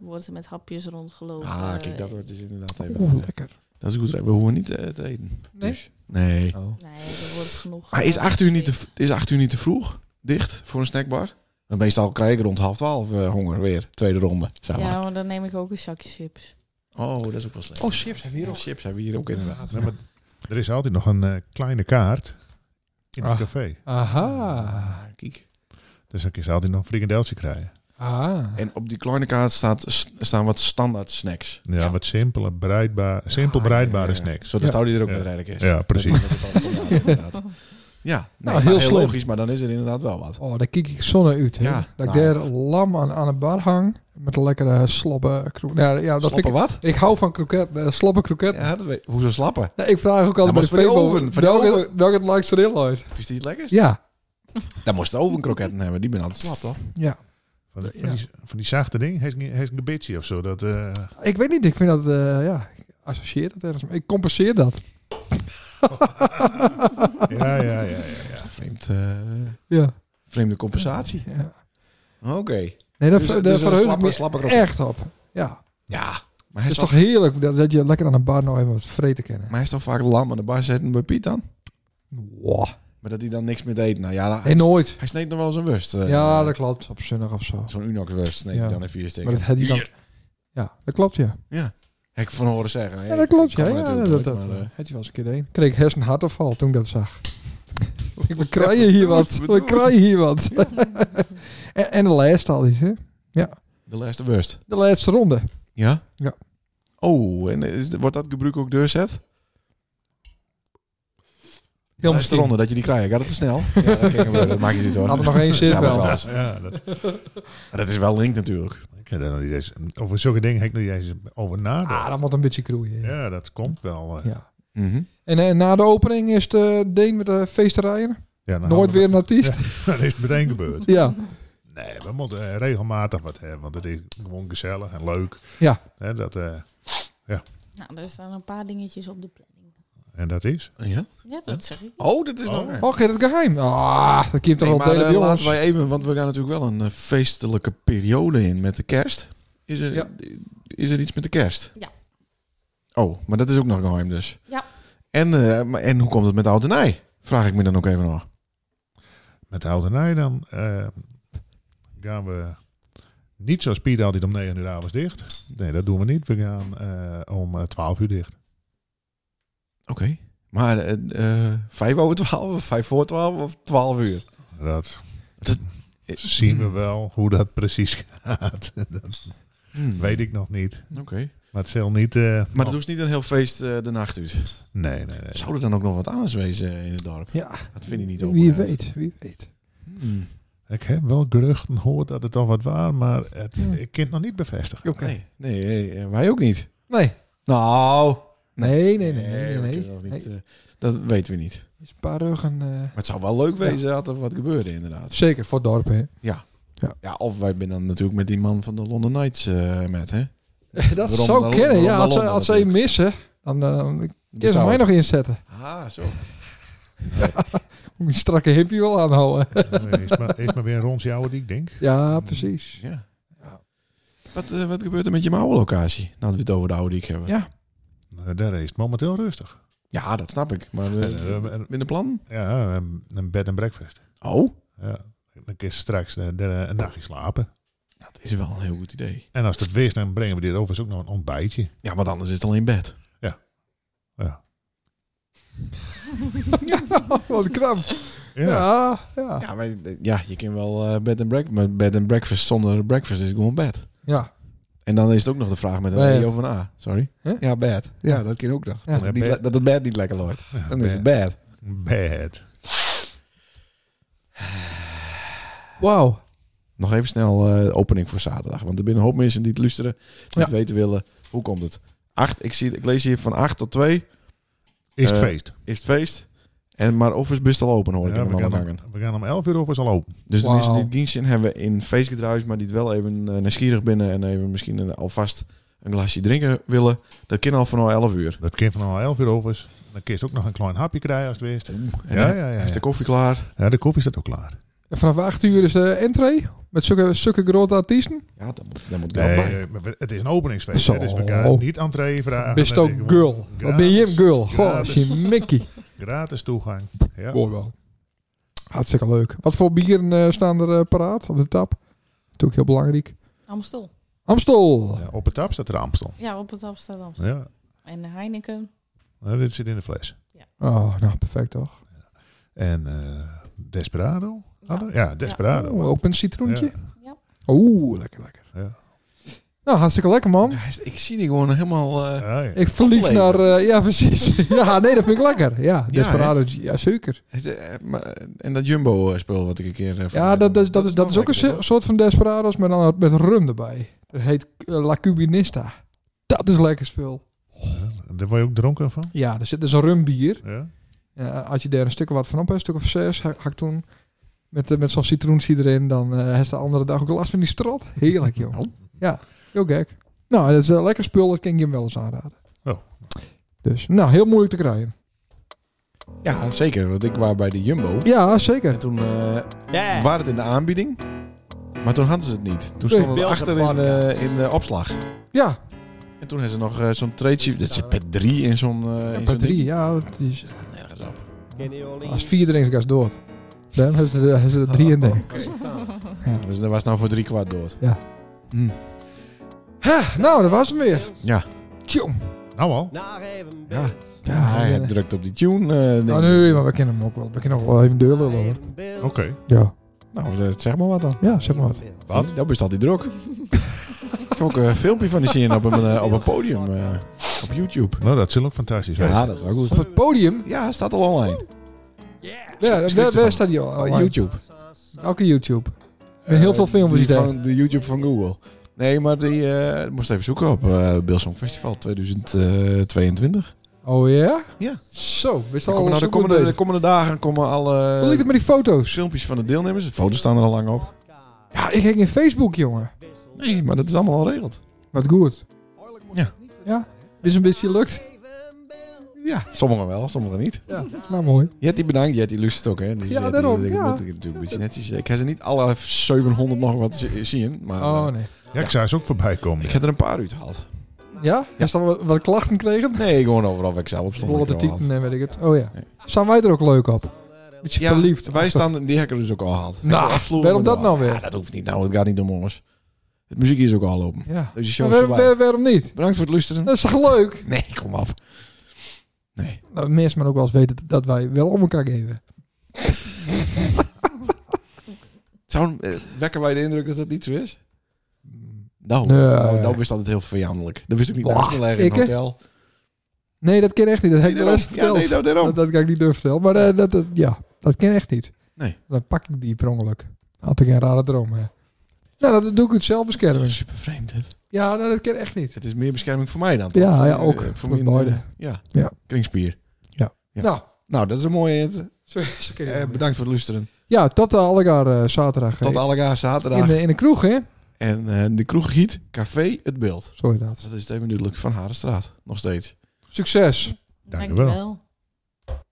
Speaker 7: wordt er met hapjes rondgelopen.
Speaker 2: Ah, kijk, dat
Speaker 7: Eh,
Speaker 2: wordt dus inderdaad even...
Speaker 1: Oeh, lekker.
Speaker 2: dat is goed. We hoeven niet eh, te eten.
Speaker 1: Nee?
Speaker 2: Dus, nee.
Speaker 1: Oh.
Speaker 7: Nee, dat wordt genoeg.
Speaker 2: Maar is
Speaker 7: eh,
Speaker 2: 8 uur niet te,
Speaker 7: gespeeld.
Speaker 2: v- is acht uur niet te vroeg? Dicht voor een snackbar? Want meestal krijg ik rond half twaalf eh, honger weer. Tweede ronde, zeg maar.
Speaker 7: Ja, maar dan neem ik ook een zakje chips.
Speaker 2: Oh, dat is ook wel slecht.
Speaker 1: Oh, chips hebben we hier
Speaker 2: Ja,
Speaker 1: ook.
Speaker 2: Chips hebben we hier ook inderdaad.
Speaker 6: Nee, maar er is altijd nog een eh, kleine kaart in het
Speaker 1: Ah.
Speaker 6: café.
Speaker 1: Aha.
Speaker 2: Kijk.
Speaker 6: Dus dan kun je altijd nog een frikandeltje krijgen.
Speaker 1: Ah.
Speaker 2: En op die kleine kaart staat, s- staan wat standaard snacks.
Speaker 6: Ja,
Speaker 7: Ja.
Speaker 6: wat simpele, bereidbaar, simpel
Speaker 2: Ah, ja,
Speaker 6: bereidbare
Speaker 2: ja, ja.
Speaker 6: snacks.
Speaker 2: Zo, dat
Speaker 1: Ja.
Speaker 2: houdt hij er ook
Speaker 6: Ja.
Speaker 2: met rijden
Speaker 6: Ja, precies.
Speaker 2: Ja, nee,
Speaker 1: Nou,
Speaker 2: maar
Speaker 1: heel
Speaker 2: heel,
Speaker 1: slim.
Speaker 2: logisch, maar dan is er inderdaad wel wat.
Speaker 1: Oh, daar kijk ik zonne uit, hè?
Speaker 2: Ja,
Speaker 1: dat ik
Speaker 2: nou.
Speaker 1: daar lam aan, aan een bar hang. Met een lekkere sloppe kroket. Ja, ja, dat vind
Speaker 2: Slappen
Speaker 1: ik...
Speaker 2: wat?
Speaker 1: Ik hou van kroket, eh, sloppe kroket.
Speaker 2: Ja, dat weet, hoezo slappen?
Speaker 1: Nee, ik vraag ook
Speaker 2: Dan
Speaker 1: altijd bij de
Speaker 2: moet voor die
Speaker 1: Facebook,
Speaker 2: oven, voor die
Speaker 1: welke,
Speaker 2: oven.
Speaker 1: welke het langste deel uit.
Speaker 2: Is die het lekkerst?
Speaker 1: Ja.
Speaker 2: Dan moest de ovenkroketten hebben, die ben aan het slap, toch?
Speaker 1: Ja.
Speaker 6: Van, die- van, die, van die zachte ding, heeft niet- heeft een beetje of zo.
Speaker 1: [laughs]
Speaker 6: Dat, eh,
Speaker 1: Ik weet niet, ik vind dat... eh, ja, ik associeer dat ergens. mee. Ik compenseer dat. [laughs]
Speaker 6: ja, ja, ja, ja.
Speaker 2: Ja, vreemd, eh,
Speaker 1: Ja.
Speaker 2: vreemde compensatie.
Speaker 1: ja.
Speaker 2: Oké.
Speaker 1: Nee, dat,
Speaker 2: Dus-
Speaker 1: dat
Speaker 2: dus een
Speaker 1: verheugt
Speaker 2: slappe-
Speaker 1: me
Speaker 2: slappe kroket.
Speaker 1: echt op. Ja.
Speaker 2: Ja, maar hij
Speaker 1: Het
Speaker 2: is,
Speaker 1: is
Speaker 2: toch,
Speaker 1: toch heerlijk dat, dat je lekker aan een bar nog even wat vreten kennen.
Speaker 2: maar hij is toch vaak lam aan de bar zetten bij Piet dan?
Speaker 1: Wow.
Speaker 2: Maar dat hij dan niks meer eet. Nou ja,
Speaker 1: Nee,
Speaker 2: hij,
Speaker 1: nooit.
Speaker 2: hij sneed nog wel eens een worst. eh,
Speaker 1: Ja,
Speaker 2: eh,
Speaker 1: dat klopt. Op zondag of zo.
Speaker 2: Zo'n Unox-worst sneed
Speaker 1: Ja.
Speaker 2: hij dan in vier
Speaker 1: Maar
Speaker 2: stikken.
Speaker 1: dat had hij dan... Ja, dat klopt, ja.
Speaker 2: Ja, heb ik van horen zeggen.
Speaker 1: Ja, dat klopt. Ja,
Speaker 2: kan
Speaker 1: ja, dat,
Speaker 2: natuurlijk
Speaker 1: dat,
Speaker 2: nooit,
Speaker 1: dat,
Speaker 2: maar,
Speaker 1: eh,
Speaker 2: eh,
Speaker 1: had je wel eens een keer één. Kreeg hersenhartafval toen ik dat [laughs] zag. ik, we krijgen hier wat. We krijgen hier wat. [laughs] en, en de laatste al iets, hè?
Speaker 2: de laatste worst.
Speaker 1: De laatste ronde.
Speaker 2: Ja?
Speaker 1: Ja.
Speaker 2: Oh, en is, wordt dat gebruik ook doorzet?
Speaker 1: Heel
Speaker 2: Laatste
Speaker 1: misschien.
Speaker 2: ronde dat je die krijgt. Gaat het te
Speaker 1: [laughs]
Speaker 2: snel? ja, dat, kan gebeuren, dat maak je niet hoor.
Speaker 1: Had er nog één zin
Speaker 2: Zou
Speaker 1: wel.
Speaker 2: wel eens.
Speaker 6: ja dat,
Speaker 2: Maar dat is wel link natuurlijk.
Speaker 6: ik heb daar nog niet eens, over zulke dingen heb ik nog niet eens over nadenken.
Speaker 1: Ah, dat moet een beetje kroeien. Ja.
Speaker 6: ja, dat komt wel. eh.
Speaker 1: Ja.
Speaker 2: Mhm.
Speaker 1: En, en na de opening is de Deen met de feesterijen.
Speaker 6: Ja, dan
Speaker 1: Nooit
Speaker 6: houden we-
Speaker 1: weer een artiest.
Speaker 6: [laughs] Dan is het meteen gebeurd.
Speaker 1: Nou, Ja.
Speaker 6: Nee, we moeten eh, regelmatig wat hebben, want het is gewoon gezellig en leuk.
Speaker 1: Ja.
Speaker 6: Hè, dat, eh,
Speaker 7: [laughs] Nou, er staan een paar dingetjes op de planning.
Speaker 6: en dat is.
Speaker 2: Ja?
Speaker 7: Ja, dat zeg ik.
Speaker 2: Oh, dat is
Speaker 6: Oh.
Speaker 2: nog...
Speaker 1: Och, is het geheim. Ah, dat komt toch
Speaker 2: Nee,
Speaker 1: wel
Speaker 2: maar
Speaker 1: delen,
Speaker 2: eh,
Speaker 1: bij jongens.
Speaker 2: laten wij even, want we gaan natuurlijk wel een eh, feestelijke periode in met de kerst. Is er,
Speaker 1: Ja.
Speaker 2: is er iets met de kerst?
Speaker 7: Ja.
Speaker 2: Oh, maar dat is ook nog geheim dus.
Speaker 7: Ja.
Speaker 2: En, eh, maar- en hoe komt het met de oude nij? Vraag ik me dan ook even nog.
Speaker 6: Met de oude nij dan eh, gaan we niet zoals Piet altijd om 9 uur avonds dicht. Nee, dat doen we niet. We gaan eh, om eh, 12 uur dicht.
Speaker 2: Oké. Maar eh, eh, vijf over twaalf, of vijf voor twaalf, of twaalf uur?
Speaker 6: Dat
Speaker 2: Dat-
Speaker 6: zien we wel hoe dat precies gaat. dat
Speaker 2: Hmm.
Speaker 6: weet ik nog niet.
Speaker 2: Oké.
Speaker 6: Maar het zal niet. eh,
Speaker 2: Maar
Speaker 6: oh,
Speaker 2: het doet niet een heel feest eh, de nacht uit.
Speaker 6: Nee, nee, nee.
Speaker 2: Zou er dan ook nog wat anders wezen eh, in het dorp?
Speaker 1: Ja,
Speaker 2: Dat vind ik niet ook.
Speaker 1: wie weet, wie weet.
Speaker 2: Hmm.
Speaker 6: Ik heb wel geruchten gehoord dat het al wat waar, maar het,
Speaker 1: Ja.
Speaker 6: ik kan het nog niet bevestigen. [laughs]
Speaker 1: Oké.
Speaker 2: Nee, nee, nee, eh, wij ook niet.
Speaker 1: Nee.
Speaker 2: Nou...
Speaker 1: Nee, nee, nee,
Speaker 2: we
Speaker 1: nee, nee.
Speaker 2: kunnen nog niet, eh, dat weten we niet.
Speaker 1: Is een paar ruggen. eh,
Speaker 2: Maar het zou wel leuk wezen dat er wat gebeurde inderdaad.
Speaker 1: zeker voor dorpen. hè.
Speaker 2: Ja, of wij zijn dan natuurlijk met die man van de London Knights eh, met, hè?
Speaker 1: [laughs] Dat
Speaker 2: Waarom
Speaker 1: zou
Speaker 2: dan-
Speaker 1: kennen.
Speaker 2: waarom
Speaker 1: Ja,
Speaker 2: dan
Speaker 1: als ze,
Speaker 2: Londen
Speaker 1: als ze hem
Speaker 2: natuurlijk?
Speaker 1: missen, dan eh, dan kun je ze
Speaker 2: Zou
Speaker 1: mij
Speaker 2: het-
Speaker 1: nog inzetten. [laughs]
Speaker 2: Ah, zo.
Speaker 1: Moet je strakke hippie wel
Speaker 6: [laughs]
Speaker 1: aanhouden.
Speaker 6: Nee, is, maar, is maar weer een rondje oude die ik denk.
Speaker 1: Ja, precies.
Speaker 2: Ja.
Speaker 1: Ja.
Speaker 2: Wat, eh, wat gebeurt er met je mouwenlocatie? Nou, dat we het over de oude ik hebben.
Speaker 1: Ja.
Speaker 2: Ja.
Speaker 6: Nou, Daar is het momenteel rustig.
Speaker 2: dat snap ik. Maar eh
Speaker 6: Eh, eh,
Speaker 2: binnen plan?
Speaker 6: ja, een- een bed en breakfast.
Speaker 2: Oh,
Speaker 6: Ja. Dan kun je straks eh, de- een dagje slapen.
Speaker 2: dat is wel een heel goed idee.
Speaker 6: En als het weer is, dan brengen we dit overigens ook nog een ontbijtje.
Speaker 2: Ja, want anders is het alleen bed.
Speaker 6: Ja.
Speaker 1: [laughs] Wat knap.
Speaker 6: Ja.
Speaker 1: Ja, ja.
Speaker 2: Ja, maar eh, ja, je kan wel eh, bed en breakfast. Maar bed en breakfast zonder breakfast is gewoon bed.
Speaker 1: Ja,
Speaker 2: En dan is het ook nog de vraag met een
Speaker 1: Bad.
Speaker 2: E of een A. Sorry.
Speaker 1: Huh?
Speaker 2: Ja, bad. Ja, dat kan ook nog.
Speaker 1: Ja.
Speaker 2: Dat, het niet,
Speaker 6: Bad.
Speaker 2: le- dat het bed niet lekker loopt. Dan is het bad.
Speaker 6: Bed.
Speaker 1: wauw.
Speaker 2: Nog even snel eh, de opening voor zaterdag. Want er binnen een hoop mensen die het luisteren. Die het
Speaker 1: Ja.
Speaker 2: weten willen. Hoe komt het? Acht, ik, zie, ik lees hier van 8 tot 2
Speaker 6: Is het
Speaker 2: Eh,
Speaker 6: feest.
Speaker 2: is het feest. En maar office best al open hoor ik
Speaker 6: Ja,
Speaker 2: in
Speaker 6: we,
Speaker 2: de
Speaker 6: gaan
Speaker 2: wandelgangen.
Speaker 6: om, we gaan om 11 uur of is al open.
Speaker 2: Dus de
Speaker 1: Wauw.
Speaker 2: mensen die het dienst in hebben in feestgedruis, maar die het wel even eh, nieuwsgierig binnen en even misschien een- alvast een glasje drinken willen, dat kan al vanaf 11 uur.
Speaker 6: Dat kind van al 11 uur overigens. Dan kun je ook nog een klein hapje krijgen als het weer is.
Speaker 2: En
Speaker 6: Ja,
Speaker 2: dan
Speaker 6: ja, ja,
Speaker 2: Is de
Speaker 6: ja.
Speaker 2: koffie klaar?
Speaker 6: Ja, de koffie staat ook klaar.
Speaker 1: En vanaf 8 uur is de entree met zulke, zulke grote artiesten.
Speaker 2: Ja, dan, moet- dan moet ik wel
Speaker 6: Nee,
Speaker 2: bij.
Speaker 6: eh, maar we- het is een openingsfeest. hè,
Speaker 1: Zo.
Speaker 6: dus we gaan niet entree vragen.
Speaker 1: Bist
Speaker 6: Dat
Speaker 1: ook
Speaker 6: is gewoon
Speaker 1: girl. Wat ben
Speaker 6: dus-
Speaker 1: je een girl? Goh,
Speaker 6: Gratis.
Speaker 1: is je Mickey.
Speaker 6: Gratis toegang. Ja.
Speaker 1: Hoor wel. Hartstikke leuk. Wat voor bieren eh, staan er eh, paraat op de tap? Natuurlijk heel belangrijk.
Speaker 7: Amstel.
Speaker 1: Amstel.
Speaker 6: Ja, op het tap staat er Amstel.
Speaker 7: Ja, op het tap staat Amstel.
Speaker 6: Ja.
Speaker 7: En Heineken.
Speaker 6: Nou, dit zit in de fles.
Speaker 1: Oh, nou perfect toch?
Speaker 6: En eh, Desperado?
Speaker 2: Ah,
Speaker 7: Ja.
Speaker 6: hadden we? Ja, Desperado.
Speaker 1: Oh, ook een citroentje.
Speaker 7: Ja.
Speaker 1: Oeh, lekker, lekker.
Speaker 6: Ja.
Speaker 1: Nou, hartstikke lekker man.
Speaker 2: Ja, is- ik zie die gewoon helemaal... eh,
Speaker 6: Ja, ja.
Speaker 1: Ik verliefd
Speaker 2: Opleven.
Speaker 1: naar... eh, ja, [laughs] precies. ja, nee, dat vind ik lekker. Ja, Desperado. Ja, zeker.
Speaker 2: is de- eh, maar- en dat Jumbo-spul wat ik een keer... eh, van-
Speaker 1: Ja, dat, dat, dat, is, dat is ook een
Speaker 2: lekker,
Speaker 1: so- soort van Desperados, maar dan met rum erbij. Dat heet eh, La Cubinista. Dat is lekker spul.
Speaker 6: Daar word je ook dronken van?
Speaker 1: Ja, er zit dus een rumbier.
Speaker 6: Ja.
Speaker 1: Ja, als je daar een stuk of wat van op hebt, een stuk of zes, ha- hak toen met, eh, met zo'n citroensie erin, dan eh heeft de andere dag ook last van die strot. Heerlijk, joh.
Speaker 6: [laughs]
Speaker 2: Nou.
Speaker 1: Ja, heel gek. Nou, dat is een lekker spul, dat kan ik je hem wel eens aanraden.
Speaker 6: Oh.
Speaker 1: Dus, nou, heel moeilijk te krijgen.
Speaker 2: hoor. Ja, zeker. Want ik was bij de Jumbo.
Speaker 1: Ja, zeker.
Speaker 2: En toen eh,
Speaker 3: Yeah.
Speaker 2: waren het in de aanbieding. Maar toen hadden ze het niet. Toen stonden
Speaker 3: Nee.
Speaker 2: we achter in, eh, in de opslag.
Speaker 1: Ja,
Speaker 2: En toen hebben ze nog eh, zo'n treetje. Dat zit per drie in zo'n... eh, in
Speaker 1: per
Speaker 2: zo'n
Speaker 1: drie,
Speaker 2: ding.
Speaker 1: ja, het is,
Speaker 2: Dat gaat nergens op.
Speaker 1: als vier drinks gaat dood. Dan hebben ze er- hebben ze er drie in
Speaker 2: Oh.
Speaker 7: [laughs]
Speaker 1: denk.
Speaker 2: Dus dat was nou voor drie kwart dood.
Speaker 1: Ja.
Speaker 2: Hm.
Speaker 1: Ha,
Speaker 2: Oh,
Speaker 1: nou, dat was hem weer.
Speaker 2: Ja.
Speaker 1: Tjong.
Speaker 6: Nou al.
Speaker 3: Naar even
Speaker 2: Ja.
Speaker 1: Ah, Ja,
Speaker 2: hij
Speaker 1: we-
Speaker 2: had drukt op die tune. eh, denk
Speaker 1: nou,
Speaker 2: ik.
Speaker 1: nee, maar we kennen hem ook wel. We kennen nog wel even deur lullen, hoor.
Speaker 6: Oké.
Speaker 1: Ja.
Speaker 2: Nou, eh, zeg maar wat dan.
Speaker 1: ja, zeg maar wat.
Speaker 6: Wat?
Speaker 2: Dat bestaat die druk. ik heb ook een filmpje van die zien op een, eh, op een podium. eh, op YouTube.
Speaker 6: Nou, dat zullen ook fantastisch zijn.
Speaker 2: Ja, dat was goed.
Speaker 1: Op het podium?
Speaker 2: Ja, het staat al online.
Speaker 1: Ja,
Speaker 2: schrik
Speaker 1: waar,
Speaker 2: ervan.
Speaker 1: waar staat die al?
Speaker 2: Op
Speaker 1: Oh, online?
Speaker 2: YouTube.
Speaker 1: Elke YouTube. Met heel
Speaker 2: Eh,
Speaker 1: veel filmpjes
Speaker 2: die
Speaker 1: daar.
Speaker 2: van de YouTube van Google. Nee, maar die eh, ik moest even zoeken op eh Beelsong Festival eh, 2022.
Speaker 1: Oh ja?
Speaker 2: Ja.
Speaker 1: Zo, we
Speaker 2: De
Speaker 1: staan al
Speaker 2: komende, nou de,
Speaker 1: zo goed
Speaker 2: komende, de
Speaker 1: bezig.
Speaker 2: komende dagen komen alle
Speaker 1: Hoe liet het met die
Speaker 2: eh,
Speaker 1: foto's?
Speaker 2: filmpjes van de deelnemers. De foto's staan er al lang op.
Speaker 1: Ja, ik hing in Facebook, jongen.
Speaker 2: Nee, maar dat is allemaal al geregeld.
Speaker 1: Wat goed.
Speaker 2: Ja.
Speaker 1: Ja? Is een beetje lukt.
Speaker 2: Ja, sommigen wel, sommigen niet.
Speaker 1: Ja, nou mooi.
Speaker 2: Jetty bedankt, Jetty lust het ook, hè? Dus
Speaker 1: Ja,
Speaker 2: Jetty,
Speaker 1: daarom,
Speaker 2: Ik
Speaker 1: ja.
Speaker 2: moet ik natuurlijk een beetje netjes. Ik ga ze niet alle 700 nog wat zi- zien, maar eh,
Speaker 1: Oh nee.
Speaker 6: Ja, ik zou ze ook voorbij komen.
Speaker 2: ik heb er een paar uitgehaald.
Speaker 1: Ja? Heb je dan wat, wat klachten kregen?
Speaker 2: Nee, gewoon overal waar ik zelf op stond.
Speaker 1: Bijvoorbeeld de
Speaker 2: heb ik er al
Speaker 1: titel, nee, weet ik het. Oh ja.
Speaker 2: Nee.
Speaker 1: Staan wij er ook leuk op? Beetje
Speaker 2: Ja,
Speaker 1: verliefd.
Speaker 2: Wij staan, die heb ik er dus ook al gehaald.
Speaker 1: Nou,
Speaker 2: Absoluut.
Speaker 1: waarom dat nou
Speaker 2: Ja,
Speaker 1: weer?
Speaker 2: dat hoeft niet nou, het gaat niet om ons. Het muziek is ook al open.
Speaker 1: Ja.
Speaker 2: Dus je show
Speaker 1: Maar
Speaker 2: is
Speaker 1: waarom,
Speaker 2: voorbij.
Speaker 1: waar- waarom niet?
Speaker 2: Bedankt voor het luisteren.
Speaker 1: Dat is toch leuk?
Speaker 2: Nee, kom af.
Speaker 1: Nou, mensen maar ook wel eens weten dat wij wel om elkaar geven.
Speaker 2: Zou, eh, wekken wij de indruk dat dat niet zo is? Nou,
Speaker 1: Nee.
Speaker 2: nou, nou wist altijd heel vijandelijk. Dat wist ik niet
Speaker 1: Bah,
Speaker 2: naast te leggen in
Speaker 1: ik,
Speaker 2: een
Speaker 1: hè?
Speaker 2: hotel.
Speaker 1: Nee, dat ken echt niet. Dat heb ik de
Speaker 2: daarom.
Speaker 1: rest
Speaker 2: ja,
Speaker 1: verteld.
Speaker 2: nee, nou, daarom.
Speaker 1: Dat, dat kan ik niet durven vertellen. Maar eh, dat, dat, ja, dat ken ik echt niet.
Speaker 2: Nee.
Speaker 1: Dan pak ik die per ongeluk. Had ik een rare droom, hè. Nou, dat doe ik uit
Speaker 2: Dat
Speaker 1: zelfbescherming.
Speaker 2: is super vreemd, dit.
Speaker 1: Ja, nou, dat ken ik echt niet.
Speaker 2: Het is meer bescherming voor mij dan. toch?
Speaker 1: Ja, ja,
Speaker 2: eh,
Speaker 1: ook. Voor
Speaker 2: mijn,
Speaker 1: beide.
Speaker 2: eh, Ja,
Speaker 1: Ja.
Speaker 2: kringspier. Ja.
Speaker 1: Nou,
Speaker 2: Nou, dat is een mooie hint.
Speaker 1: zo, zo ken ik
Speaker 2: Eh,
Speaker 1: het.
Speaker 2: bedankt voor het luisteren.
Speaker 1: Ja, tot uh, allegaar eh, zaterdag.
Speaker 2: Tot
Speaker 1: eh,
Speaker 2: allegaar zaterdag.
Speaker 1: in, de, in de kroeg, hè?
Speaker 2: En eh, de kroeg giet, café, het beeld.
Speaker 1: Zo inderdaad.
Speaker 2: Dat is het even duidelijk van Harenstraat. Nog steeds.
Speaker 1: Succes.
Speaker 6: Dank u wel.